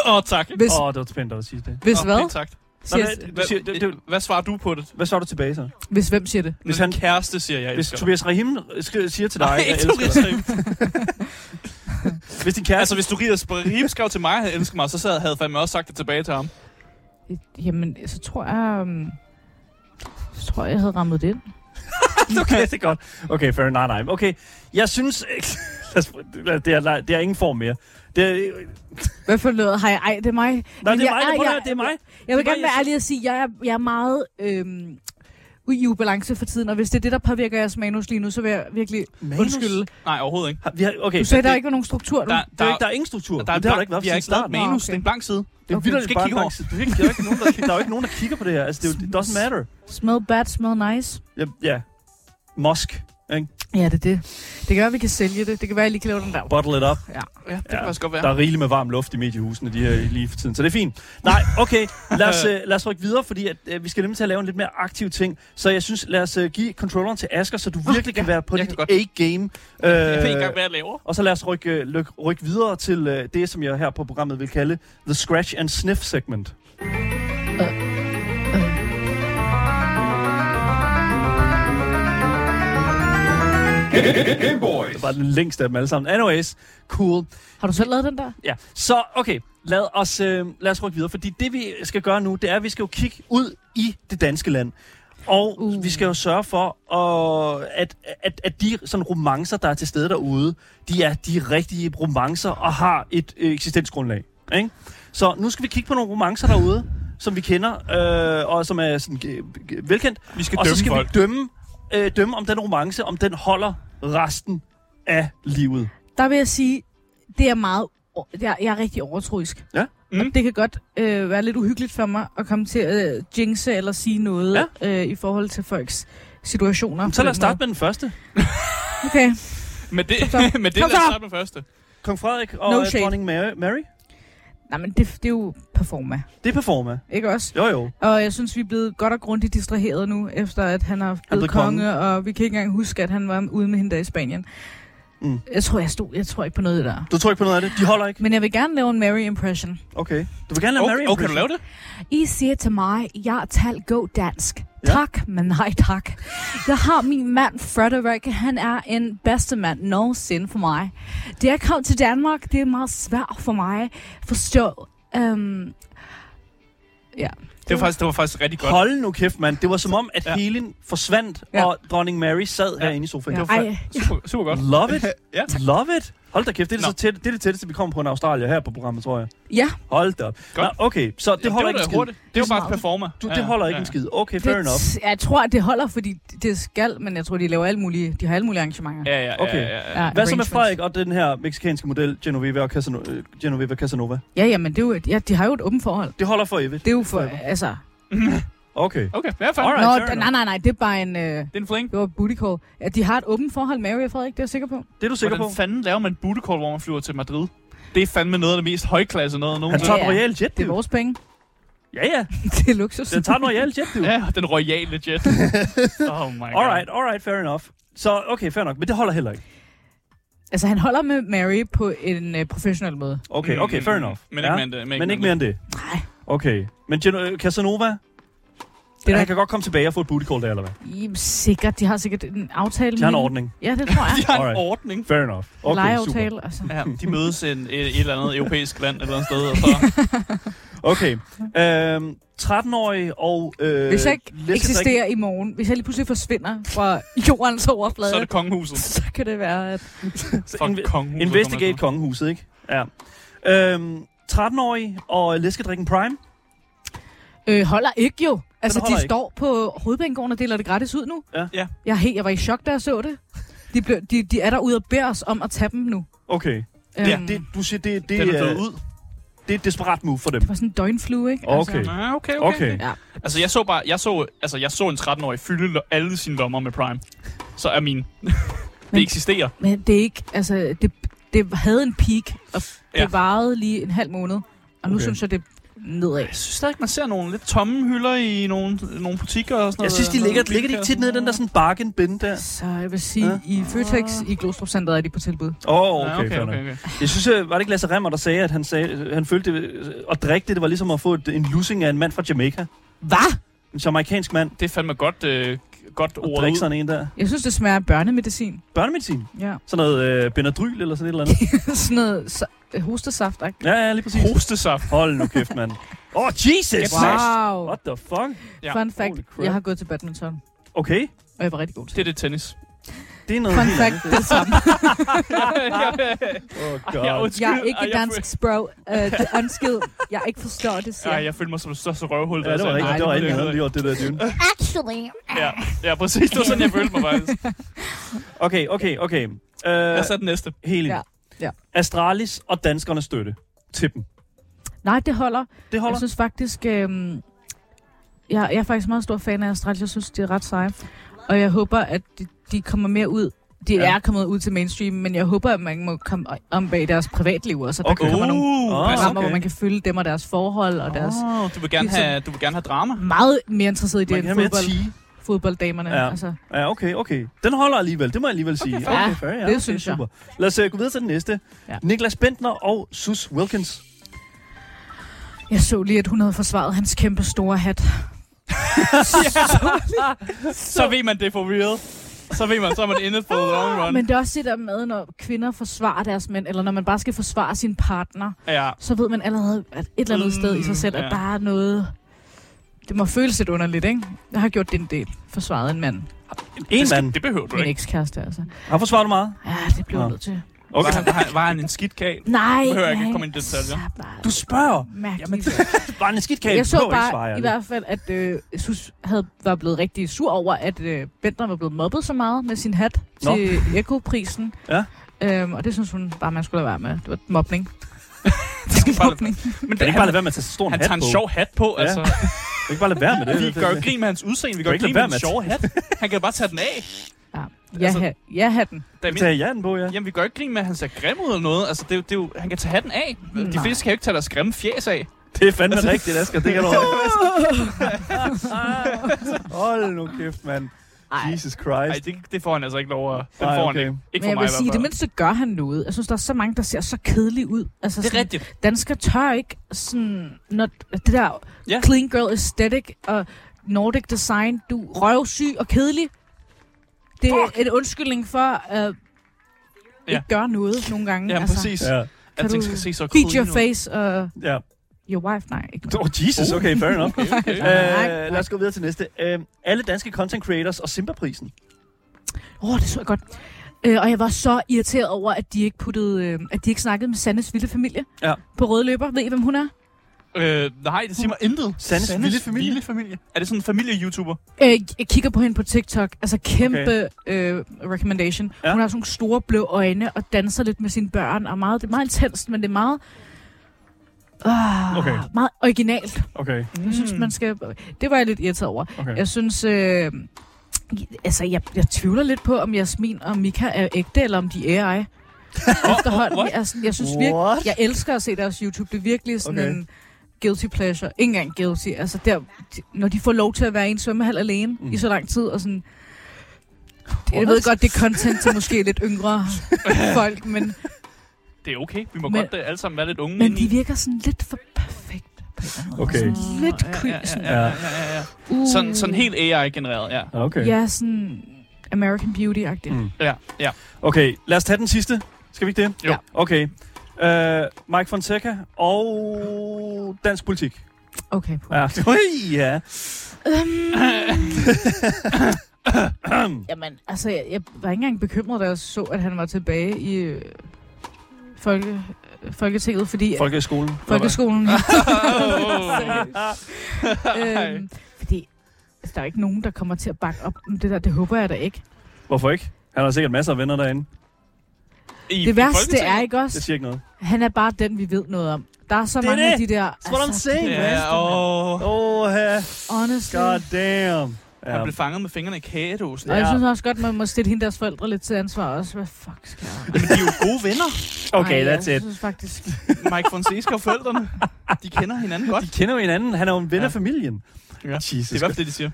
Speaker 3: Åh, oh, tak.
Speaker 4: hvis,
Speaker 2: Åh, det var spændende at sige det.
Speaker 4: hvis
Speaker 3: Åh,
Speaker 4: hvad?
Speaker 3: pænt Tak.
Speaker 2: Nå,
Speaker 4: Siger,
Speaker 2: men, du siger, det, det,
Speaker 3: Hvad svarer du på det?
Speaker 2: hvad så er du tilbage så?
Speaker 4: hvis hvem siger det?
Speaker 3: Hvis
Speaker 2: Hvis
Speaker 3: han
Speaker 2: han-
Speaker 3: kæreste siger, jeg
Speaker 2: Hvis
Speaker 3: elsker dig.
Speaker 2: Tobias Rahim sk- siger til dig,
Speaker 3: Nej,
Speaker 2: jeg
Speaker 3: ikke
Speaker 2: elsker
Speaker 3: Tobias
Speaker 2: dig.
Speaker 3: Rahim.
Speaker 2: Hvis din kæreste...
Speaker 3: Altså, hvis du Rahim skrev til mig, at han elsker mig, så sad- havde jeg fandme også sagt det tilbage til ham.
Speaker 4: Jamen, så tror jeg... Um, så tror jeg, jeg havde rammet det ind.
Speaker 2: okay, det er godt. Okay, fair nej, nej. Okay, jeg synes... Lad os- lad- det, er, nej, det er ingen form mere. Det er,
Speaker 4: Hvad for noget? Hej, ej, det er mig.
Speaker 2: nej, det er
Speaker 4: jeg-
Speaker 2: mig. Det,
Speaker 4: ej,
Speaker 2: prøv at
Speaker 4: jeg-
Speaker 2: høre, det er mig.
Speaker 4: Jeg vil
Speaker 2: Det er mig,
Speaker 4: gerne være
Speaker 2: jeg
Speaker 4: ærlig og sige, at jeg er, jeg er meget øhm, i ubalance for tiden, og hvis det er det, der påvirker jeres manus lige nu, så vil jeg virkelig manus? undskylde.
Speaker 3: Nej, overhovedet ikke.
Speaker 2: Har- Vi har, okay,
Speaker 4: Du sagde,
Speaker 2: det,
Speaker 4: der ikke var nogen struktur nu.
Speaker 3: Der,
Speaker 2: Der,
Speaker 3: der,
Speaker 2: er ikke, der er ingen struktur.
Speaker 3: Der er
Speaker 2: Men det har
Speaker 3: blank-
Speaker 2: der ikke været
Speaker 3: vi har
Speaker 2: siden
Speaker 3: ikke lavet
Speaker 2: starten.
Speaker 3: et
Speaker 4: Nå,
Speaker 3: manus,
Speaker 4: Ah, okay.
Speaker 3: det er en blank side.
Speaker 2: Det er
Speaker 4: Okay.
Speaker 2: vildt,
Speaker 3: Du
Speaker 2: at
Speaker 3: skal
Speaker 2: det
Speaker 3: ikke
Speaker 2: bare
Speaker 3: kigge
Speaker 2: er blank. Det er virkelig- Der er ikke nogen, der, der er jo ikke nogen, der kigger på det her. Altså, det, er jo, it doesn't matter.
Speaker 4: Smell bad, smell nice.
Speaker 2: Ja, ja. Mosk. Ikke?
Speaker 4: Ja, det er det. Det kan være, at vi kan sælge det. Det kan være, at jeg lige kan lave den der.
Speaker 2: Bottle it up.
Speaker 3: Ja, det kan
Speaker 2: Ja.
Speaker 3: faktisk godt
Speaker 2: Der
Speaker 3: være.
Speaker 2: er rigeligt med varm luft i mediehusene de her, lige for tiden, så det er fint. Nej, okay, lad os, øh, lad os rykke videre, fordi at, øh, vi skal nemlig til at lave en lidt mere aktiv ting. Så jeg synes, lad os øh, give controlleren til Asker, så du virkelig kan være på
Speaker 3: jeg
Speaker 2: dit
Speaker 3: kan godt.
Speaker 2: A-game.
Speaker 3: Jeg ved ikke
Speaker 2: Øh,
Speaker 3: engang, hvad jeg laver.
Speaker 2: og så lad os rykke, øh, lyk- rykke videre til øh, det, som jeg her på programmet vil kalde The Scratch and Sniff segment.
Speaker 1: Game Boys.
Speaker 2: Det var den længste af dem alle sammen. Anyways, cool.
Speaker 4: Har du selv lavet den der?
Speaker 2: Ja, så okay, lad os, øh, lad os rykke videre, fordi det vi skal gøre nu, det er, at vi skal jo kigge ud i det danske land. Og
Speaker 4: Uh.
Speaker 2: uh. vi skal jo sørge for, og at, at, at de sådan romancer, der er til stede derude, de er de rigtige romancer og har et øh, eksistensgrundlag. Ikke? Så nu skal vi kigge på nogle romancer derude, som vi kender, øh, og som er sådan, øh, øh, velkendt.
Speaker 3: Vi skal
Speaker 2: og så
Speaker 3: dømme
Speaker 2: skal
Speaker 3: folk.
Speaker 2: vi dømme, øh, dømme, om den romance, om den holder resten af livet.
Speaker 4: Der vil jeg sige, det er meget... Jeg, jeg er rigtig overtroisk.
Speaker 2: Ja.
Speaker 3: Mm.
Speaker 4: Mm. Og det kan godt øh, være lidt uhyggeligt for mig at komme til at øh, jinxe eller sige noget ja. øh, i forhold til folks situationer.
Speaker 2: Så lad os starte med den første.
Speaker 4: Okay.
Speaker 3: Men det,
Speaker 4: Kom så.
Speaker 3: men det lad
Speaker 4: Kom
Speaker 3: os
Speaker 4: så.
Speaker 3: starte med første.
Speaker 2: Kong Frederik og
Speaker 4: No
Speaker 2: no
Speaker 4: shade.
Speaker 2: dronning Mary, Mary.
Speaker 4: Nej, men det, det er jo performa,
Speaker 2: Det performer.
Speaker 4: ikke også?
Speaker 2: Jo, jo.
Speaker 4: Og jeg synes, vi er blevet godt og grundigt distraheret nu, efter at han er blevet
Speaker 2: blev
Speaker 4: konge,
Speaker 2: konge.
Speaker 4: konge, og vi kan ikke engang huske, at han var ude med hende der i Spanien.
Speaker 2: Mm.
Speaker 4: Jeg tror, jeg stod. Jeg tror ikke på noget af det der.
Speaker 2: Du tror ikke på noget af det? De holder ikke?
Speaker 4: Men jeg vil gerne lave en Mary impression.
Speaker 2: Okay. Du vil gerne lave Mary
Speaker 3: Okay, okay, kan du
Speaker 2: impression.
Speaker 3: lave det?
Speaker 4: I siger til mig, jeg tal god dansk.
Speaker 2: Ja.
Speaker 4: Tak, men nej tak. Jeg har min mand Frederik, han er en bedste mand nogensinde for mig. Det jeg kom til Danmark, det er meget svært for mig at forstå. Um,
Speaker 3: Det var faktisk, det var faktisk rigtig godt.
Speaker 2: Hold nu kæft, mand. Det var som om, at
Speaker 3: Ja.
Speaker 2: ja. helen forsvandt,
Speaker 4: Ja.
Speaker 2: ja. og dronning Mary sad
Speaker 3: Ja.
Speaker 2: ja. herinde i sofaen.
Speaker 4: Ja.
Speaker 2: Ja.
Speaker 3: Det var
Speaker 4: Ej.
Speaker 3: fa- super, super godt.
Speaker 2: Love it.
Speaker 3: Ja.
Speaker 2: Love it. Hold da kæft, det er, det,
Speaker 3: Nå.
Speaker 2: så tæt, det er det tætteste, vi kommer på en Australier her på programmet, tror jeg.
Speaker 4: ja,
Speaker 2: Hold da op. Nå,
Speaker 3: Godt.
Speaker 2: okay, så det
Speaker 3: Ja,
Speaker 2: holder ikke en
Speaker 3: det var da
Speaker 2: skid.
Speaker 3: hurtigt. Det var
Speaker 4: Det er
Speaker 3: bare et
Speaker 4: smart.
Speaker 3: performer.
Speaker 2: Du,
Speaker 3: Ja,
Speaker 2: det holder ikke
Speaker 3: ja.
Speaker 2: en skid. Okay, fair enough.
Speaker 4: det, jeg tror, at det holder, fordi det skal, men jeg tror, de laver alle mulige, de har alle mulige arrangementer.
Speaker 3: Ja, ja, ja.
Speaker 2: Okay.
Speaker 3: ja, ja.
Speaker 4: Ja,
Speaker 2: Hvad så med
Speaker 4: arrangements.
Speaker 2: Frederik og den her meksikanske model, Genoveva og Casano- øh, Genoveva Casanova?
Speaker 4: Ja, ja, men det er jo, et- ja, de har jo et åbent forhold.
Speaker 2: Det holder for evigt.
Speaker 4: Det er jo for,
Speaker 2: Forever.
Speaker 4: altså...
Speaker 2: Okay.
Speaker 3: Okay, i hvert fald.
Speaker 2: Alright.
Speaker 4: Nå,
Speaker 2: fair
Speaker 4: d-
Speaker 2: enough.
Speaker 4: nej, nej, nej, det er bare en... Øh,
Speaker 3: Det er en fling.
Speaker 4: det var et booty call. Ja, de har et åbent forhold, Mary og Frederik, det er jeg sikker på.
Speaker 2: Det er du sikker
Speaker 3: Hvordan
Speaker 2: på?
Speaker 3: fanden laver man et bootekort, hvor man flyver til Madrid? Det er fandme noget af det mest højklasse noget
Speaker 2: Han
Speaker 3: nogensinde.
Speaker 2: tager
Speaker 4: Ja,
Speaker 2: en
Speaker 4: ja.
Speaker 2: royal jet,
Speaker 4: Det er
Speaker 2: dude.
Speaker 4: vores penge.
Speaker 2: Ja, ja.
Speaker 4: det er luksus.
Speaker 2: Den tager en royal jet, dude.
Speaker 3: Ja, den royale jet. oh my god.
Speaker 2: Alright, alright, fair enough. Så okay, fair nok, men det holder heller ikke.
Speaker 4: Altså, han holder med Mary på en øh, professionel måde.
Speaker 2: Okay, okay, fair enough.
Speaker 3: Mm, Men ikke, mere, end det,
Speaker 2: Men ikke mere end det.
Speaker 4: Nej.
Speaker 2: Okay. Men Gen- øh, Casanova,
Speaker 4: Det er
Speaker 2: han
Speaker 4: da
Speaker 2: kan godt komme tilbage og få et booty call der, eller hvad?
Speaker 4: Jamen, sikkert. De har sikkert en aftale.
Speaker 2: De har en
Speaker 4: med hende.
Speaker 2: ordning.
Speaker 4: Ja, det tror jeg.
Speaker 3: De har en
Speaker 2: Alright.
Speaker 3: ordning.
Speaker 2: Fair enough.
Speaker 4: Okay,
Speaker 2: Okay, super. Øh,
Speaker 4: Lejeaftale, altså.
Speaker 3: Ja, de mødes i en- et, et eller andet europæisk land et eller andet sted, og så
Speaker 2: Okay. Øhm, 13-årig og... Øh,
Speaker 4: Hvis jeg ikke
Speaker 2: læskedrik-
Speaker 4: eksisterer i morgen, hvis jeg lige pludselig forsvinder fra jordens overflade,
Speaker 3: så er det kongehuset.
Speaker 4: så kan det være, at...
Speaker 2: Så
Speaker 3: Fuck
Speaker 2: inve-
Speaker 3: kongehuset.
Speaker 2: Investigate kongehuset, ikke? Ja. Øhm, 13-årig og læskedrikken Prime.
Speaker 4: Øh, holder ikke jo. Altså, de
Speaker 2: holder ikke.
Speaker 4: står på hovedbanegården og deler det gratis ud nu.
Speaker 2: Ja.
Speaker 3: Ja.
Speaker 4: Jeg, er helt, jeg var i chok, da jeg så det. De, blev, de, de er derude og beder os om at tage dem nu. Øhm,
Speaker 2: Okay.
Speaker 4: Ja,
Speaker 2: Det, du siger, det, det,
Speaker 3: Den er død
Speaker 2: øh,
Speaker 3: ud.
Speaker 2: det er et desperat move for dem.
Speaker 4: Det var sådan en døgnflue, ikke? Altså,
Speaker 2: Okay.
Speaker 3: Ah, okay, okay.
Speaker 2: Okay.
Speaker 4: Ja.
Speaker 3: Altså, jeg så bare, jeg så, altså, jeg så en 13-årig fylde lo- alle sine lommer med Prime. Så er min. det
Speaker 4: Men-
Speaker 3: eksisterer.
Speaker 4: Men det er ikke, altså, det, det havde en peak, og det
Speaker 3: Ja.
Speaker 4: ja. varede lige en halv måned. Og nu
Speaker 2: Okay.
Speaker 4: synes jeg, det er nedad.
Speaker 3: Jeg synes stadig, man ser nogle lidt tomme hylder i nogle, nogle butikker og sådan
Speaker 2: Jeg
Speaker 3: noget. øh,
Speaker 2: synes, de ligger, ligger de ikke tit nede i den der sådan bargain bin der?
Speaker 4: Så jeg vil sige,
Speaker 2: Ja.
Speaker 4: ja. i Føtex i Glostrup Centeret er de på tilbud.
Speaker 2: Åh,
Speaker 3: Ja,
Speaker 2: oh, okay, okay, fair nok.
Speaker 3: Ah, okay, okay.
Speaker 2: Jeg synes, øh, var det ikke Lasse Remmer, der sagde, at han, sagde, han følte, det, at drikke det, det var ligesom at få et, en lussing af en mand fra Jamaica.
Speaker 4: Hvad?
Speaker 2: En jamaikansk mand,
Speaker 3: Det er fandme godt, øh, godt
Speaker 2: og
Speaker 3: ord
Speaker 2: drikke
Speaker 3: ud.
Speaker 2: sådan en der.
Speaker 4: Jeg synes, det smager af børnemedicin.
Speaker 2: Børnemedicin.
Speaker 4: Ja.
Speaker 2: Sådan noget øh, Benadryl eller sådan et eller andet.
Speaker 4: sådan noget så, hostesaft -agtigt.
Speaker 2: ja, ja, lige præcis.
Speaker 3: Hostesaft.
Speaker 2: Hold nu kæft, mand. Åh, oh, Jesus! Wow.
Speaker 4: Wow.
Speaker 2: What the fuck?
Speaker 3: Ja.
Speaker 4: Ja. Fun fact,
Speaker 2: Holy crap.
Speaker 4: jeg har gået til badminton,
Speaker 2: Okay,
Speaker 4: og jeg var rigtig god til
Speaker 3: Det er det tennis.
Speaker 2: det er
Speaker 4: det.
Speaker 2: noget
Speaker 4: Fun
Speaker 2: helt
Speaker 4: fact, det er det samme.
Speaker 2: andet. Åh,
Speaker 3: Ja,
Speaker 2: god.
Speaker 3: undskyld.
Speaker 4: Jeg er ikke
Speaker 3: Ej,
Speaker 4: et
Speaker 3: jeg
Speaker 4: dansk bro. Uh, det er unskill. Jeg ikke forstår det, siger
Speaker 3: Ej,
Speaker 4: jeg.
Speaker 3: jeg følte mig som det største røvhul. da
Speaker 2: Ja,
Speaker 3: jeg
Speaker 2: det var
Speaker 3: sagde,
Speaker 2: rigtigt.
Speaker 3: nej,
Speaker 2: Det var
Speaker 3: må
Speaker 2: rigtig
Speaker 3: jeg
Speaker 2: noget,
Speaker 3: ikke.
Speaker 2: gjort det der dyne.
Speaker 6: Actually,
Speaker 3: Ja, ja, præcis. Det var sådan, jeg følte mig faktisk.
Speaker 2: Okay, okay, okay. Øh,
Speaker 3: Jeg så den næste.
Speaker 2: Helin.
Speaker 4: Ja, ja.
Speaker 2: Astralis og danskernes støtte til dem.
Speaker 4: Nej, det holder.
Speaker 2: Det holder.
Speaker 4: Jeg synes faktisk, øhm, jeg, jeg er faktisk meget stor fan af Astralis. Jeg synes, det er ret sejt. Og jeg håber, at de, de kommer mere ud. De
Speaker 2: Ja.
Speaker 4: ja. er kommet ud til mainstream, men jeg håber, at man må komme om bag deres privatliv også. Og der
Speaker 2: Okay.
Speaker 4: okay. kommer nogle
Speaker 2: Ah,
Speaker 3: altså,
Speaker 4: programmer, okay.
Speaker 2: okay.
Speaker 4: hvor man kan følge dem og deres forhold og deres...
Speaker 3: Åh, du vil gerne
Speaker 4: ligesom-
Speaker 3: have, du vil gerne have drama.
Speaker 4: Meget mere interesseret i det
Speaker 2: Ah. Man
Speaker 4: end
Speaker 2: kan have mere
Speaker 4: fodbold,
Speaker 2: tea.
Speaker 4: fodbolddamerne.
Speaker 2: Ja.
Speaker 4: Ja. Altså,
Speaker 2: Ja, okay, okay. Den holder alligevel, det må jeg alligevel sige.
Speaker 4: fair. Ja,
Speaker 2: fair,
Speaker 4: det synes jeg.
Speaker 2: Lad os uh, gå videre til den næste.
Speaker 4: Ja.
Speaker 2: Ja. Niklas Bentner og Sus Wilkins.
Speaker 4: jeg så lige, at hun havde forsvaret hans kæmpe store hat.
Speaker 3: Så ved man, det er for real. Så ved man, så er man inde for the long run.
Speaker 4: Men det er også det der med, når kvinder forsvarer deres mænd, eller når man bare skal forsvare sin partner,
Speaker 3: Ja.
Speaker 4: så ved man allerede at et eller andet sted i sig selv,
Speaker 3: Mm,
Speaker 4: at
Speaker 3: ja.
Speaker 4: der er noget... Det må føles lidt underligt, ikke? Jeg har gjort din del, forsvarede en mand.
Speaker 2: En
Speaker 3: det, skal-
Speaker 2: mand.
Speaker 3: det behøver du
Speaker 4: Min
Speaker 3: ikke.
Speaker 4: ekskæreste, altså.
Speaker 2: Har forsvaret du meget?
Speaker 4: Ja, det blev
Speaker 2: Nå.
Speaker 4: jeg nødt til.
Speaker 3: Okay. Var, han, var, han- var han en skidt kag?
Speaker 4: Nej,
Speaker 3: Nu hører Ah. jeg ikke
Speaker 4: nej.
Speaker 3: komme ind i detaljer.
Speaker 4: Så bare
Speaker 2: Du spørger.
Speaker 4: Mærkeligt.
Speaker 2: Bare en skidt kage.
Speaker 4: jeg så
Speaker 2: behøver ikke svare,
Speaker 4: bare i
Speaker 2: ærligt.
Speaker 4: hvert fald, at øh, Sus havde, var blevet rigtig sur over, at øh, Bender var blevet mobbet så meget med sin hat
Speaker 2: Nå.
Speaker 4: til Eko-prisen.
Speaker 2: Ja.
Speaker 4: Øhm, og det synes hun bare, man skulle lade være med. Det var mobning.
Speaker 3: skal bare lade-
Speaker 4: mobning.
Speaker 3: Men
Speaker 2: Kan det ikke
Speaker 3: han,
Speaker 2: bare lade være med at tage så stor en
Speaker 3: han
Speaker 2: hat
Speaker 3: tager en
Speaker 2: på?
Speaker 3: sjov hat på,
Speaker 2: Ja.
Speaker 3: altså.
Speaker 2: Kan ikke bare lade være med det?
Speaker 3: Vi gør jo grin med hans udseende, vi
Speaker 2: Du kan
Speaker 3: gør
Speaker 2: ikke
Speaker 3: grin
Speaker 2: lade
Speaker 3: med
Speaker 2: være
Speaker 3: hans
Speaker 2: med
Speaker 3: sjove hat. Han kan bare tage den af.
Speaker 4: Ja,
Speaker 3: Altså-
Speaker 4: ha ja hatten.
Speaker 3: Da min,
Speaker 2: Tag hjernen på, ja.
Speaker 3: jamen, vi gør ikke grin med, at han ser grim ud eller noget. Altså, det, er jo- det er jo, han kan tage hatten af. De
Speaker 4: Nej.
Speaker 3: fleste kan jo ikke tage deres grimme fjes af.
Speaker 2: Det er fandme altså, rigtigt, Asger. Det kan du Hold nu kæft, mand.
Speaker 4: Ej.
Speaker 2: Jesus
Speaker 3: Nej,
Speaker 2: Christ.
Speaker 3: det, det får han altså ikke lov at... Den
Speaker 2: Ej,
Speaker 3: får han
Speaker 2: okay.
Speaker 3: ikke. Ikke for
Speaker 4: Men jeg
Speaker 3: mig
Speaker 4: vil
Speaker 3: i
Speaker 4: sige, i
Speaker 3: hvert
Speaker 4: det
Speaker 3: fald.
Speaker 4: mindste gør han noget. Jeg synes, der er så mange, der ser så kedelige ud. Altså,
Speaker 3: Det er
Speaker 4: sådan,
Speaker 3: rigtigt.
Speaker 4: danskere tør ikke sådan, når det der
Speaker 3: Ja.
Speaker 4: ja. clean girl aesthetic og nordic design, du er røvsyg og kedelig. Det er en undskyldning for at uh,
Speaker 3: Ja.
Speaker 4: ja. ikke gøre noget nogle gange.
Speaker 3: Ja, præcis.
Speaker 2: Ja,
Speaker 3: At
Speaker 4: altså, Kan
Speaker 3: ting
Speaker 4: du-
Speaker 3: skal se så
Speaker 4: Feed your
Speaker 3: ud.
Speaker 4: face og
Speaker 2: ja.
Speaker 4: your wife. Nej, ikke
Speaker 2: Oh, Jesus, okay, fair enough.
Speaker 3: Okay, okay.
Speaker 2: Øh, lad os gå videre til næste. Øh, alle danske content creators og Simba-prisen.
Speaker 4: Åh, oh, det så jeg godt. Øh, og jeg var så irriteret over, at de ikke puttede, øh, at de ikke snakkede med Sandes vilde familie
Speaker 2: Ja.
Speaker 4: på røde løber. Ved I, hvem hun er?
Speaker 3: Øh, nej, det siger mig intet.
Speaker 2: Sandes vilde familie.
Speaker 3: vilde familie. Er det sådan en familie-youtuber?
Speaker 4: Øh, jeg kigger på hende på TikTok. Altså kæmpe øh, recommendation.
Speaker 2: Ja.
Speaker 4: Ja. Hun har sådan nogle store blå øjne og danser lidt med sine børn. Og meget, det er meget intenst, men det er meget... Uh,
Speaker 2: Okay.
Speaker 4: okay. Meget originalt.
Speaker 2: Okay,
Speaker 4: Mm. Jeg synes, man skal... Det var jeg lidt irriteret over.
Speaker 2: okay.
Speaker 4: Jeg synes... Øh, altså, jeg, jeg tvivler lidt på, om Jasmin og Mika er ægte, eller om de er AI. Efterhånden.
Speaker 3: what?
Speaker 4: Jeg, er sådan- jeg synes virkelig...
Speaker 2: What?
Speaker 4: Jeg elsker at se deres YouTube. Det er virkelig sådan
Speaker 2: Okay.
Speaker 4: okay. en guilty pleasure. Ikke engang guilty. Altså der, de- når de får lov til at være i en svømmehal alene
Speaker 2: Mm.
Speaker 4: mm. i så lang tid, og sådan... Jeg ved godt, det er content til måske lidt yngre folk, men,
Speaker 3: Det er okay. Vi må men,
Speaker 4: Men-
Speaker 3: godt uh, alle sammen være lidt unge.
Speaker 4: men
Speaker 3: indeni.
Speaker 4: de virker sådan lidt for perfekt. på en eller anden måde.
Speaker 2: Okay.
Speaker 4: Sådan lidt
Speaker 3: Ja,
Speaker 4: creepy.
Speaker 3: Ah, ja, ja,
Speaker 4: sådan,
Speaker 3: ja, ja, ja, ja, ja.
Speaker 4: uh,
Speaker 3: Sådan, sådan helt AI-genereret, ja.
Speaker 2: Okay.
Speaker 4: Ja, sådan American Beauty-agtigt.
Speaker 2: Mm.
Speaker 4: Mm.
Speaker 3: Ja, ja.
Speaker 2: Okay, lad os tage den sidste. Skal vi ikke det?
Speaker 3: Jo. Ja.
Speaker 2: Okay. Øh, Mike Fonseca og dansk politik.
Speaker 4: Okay.
Speaker 2: Ja. Ui, ja.
Speaker 4: Øhm. Jamen, altså, jeg, jeg var ikke engang bekymret, da jeg så, at han var tilbage i øh, folke, øh, Folketinget, fordi
Speaker 2: Folkeskolen.
Speaker 4: folkeskolen...
Speaker 2: Oh.
Speaker 3: Ej.
Speaker 4: øhm, fordi altså, der er jo ikke nogen, der kommer til at bakke op om det der. Det håber jeg da ikke.
Speaker 2: Hvorfor ikke? Han har sikkert masser af venner derinde.
Speaker 3: I
Speaker 4: Det værste
Speaker 3: Folketinget?
Speaker 4: er ikke
Speaker 2: Jeg
Speaker 4: også,
Speaker 2: siger ikke noget.
Speaker 4: han er bare den, vi ved noget om. Der er så
Speaker 2: Det er
Speaker 4: mange
Speaker 2: det.
Speaker 4: af de der...
Speaker 2: what I'm saying,
Speaker 4: det er
Speaker 2: man.
Speaker 4: værste,
Speaker 3: Ja, og
Speaker 2: Åh, oh,
Speaker 4: Honestly.
Speaker 2: god damn.
Speaker 3: han
Speaker 2: Ja.
Speaker 3: blev fanget med fingrene i kagedåsen.
Speaker 4: Og jeg
Speaker 2: Ja.
Speaker 4: synes også godt, man må stille hende deres forældre lidt til ansvar også. Hvad fuck skal jeg?
Speaker 3: Men de er jo gode venner,
Speaker 2: Okay,
Speaker 4: Ej,
Speaker 2: that's
Speaker 4: jeg
Speaker 2: it.
Speaker 4: synes faktisk...
Speaker 3: Mike Fonseca og forældrene. De kender hinanden godt.
Speaker 2: De kender jo hinanden. Han er jo en ven
Speaker 3: Ja.
Speaker 2: af familien.
Speaker 3: Ja.
Speaker 2: Jesus.
Speaker 3: Det er i hvert fald det, de siger.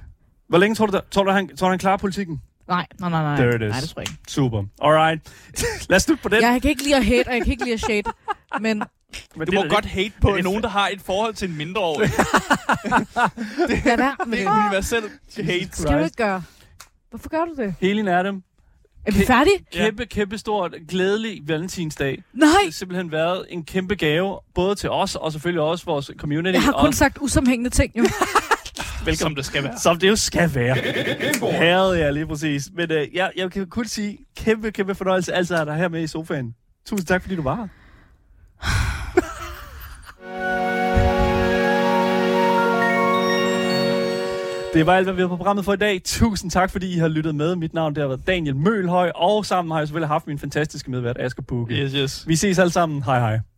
Speaker 2: Hvor længe tror du, der, tror du, han, tror du, han klarer politikken?
Speaker 4: Nej, nej, nej, nej.
Speaker 2: There it is.
Speaker 4: Nej, det tror jeg ikke.
Speaker 2: Super. Alright. Lad os slutte på den.
Speaker 4: Jeg kan ikke lide at hate, og jeg kan ikke lide at shade. Men
Speaker 2: Men
Speaker 3: Du
Speaker 2: det
Speaker 3: må
Speaker 2: er da
Speaker 3: godt hate på
Speaker 2: det er-
Speaker 3: nogen, der har et forhold til en mindreårig.
Speaker 4: lad være med
Speaker 3: Det
Speaker 4: det.
Speaker 3: er universelt hate.
Speaker 2: lidt-
Speaker 4: Skal du ikke gøre? Hvorfor gør du det?
Speaker 2: Helin Adam.
Speaker 4: Er vi færdige?
Speaker 2: Kæmpe, kæmpe stort, glædelig valentinsdag.
Speaker 4: Nej!
Speaker 2: Det har simpelthen været en kæmpe gave, både til os og selvfølgelig også vores community.
Speaker 4: Jeg har kun
Speaker 2: og
Speaker 4: sagt usammenhængende ting, jo.
Speaker 3: Som det skal være.
Speaker 2: Som det jo skal være.
Speaker 1: Game boy.
Speaker 2: Herrede jeg lige præcis. Men øh, jeg, jeg kan kun sige, kæmpe, kæmpe fornøjelse altid at have dig her med i sofaen. Tusind tak, fordi du var her. Det var alt, hvad vi havde på programmet for i dag. Tusind tak, fordi I har lyttet med. Mit navn det har været Daniel Mølhøj, og sammen har jeg selvfølgelig haft min fantastiske medvært, Asger Bukke.
Speaker 3: Yes, yes.
Speaker 2: Vi ses alle sammen. Hej hej.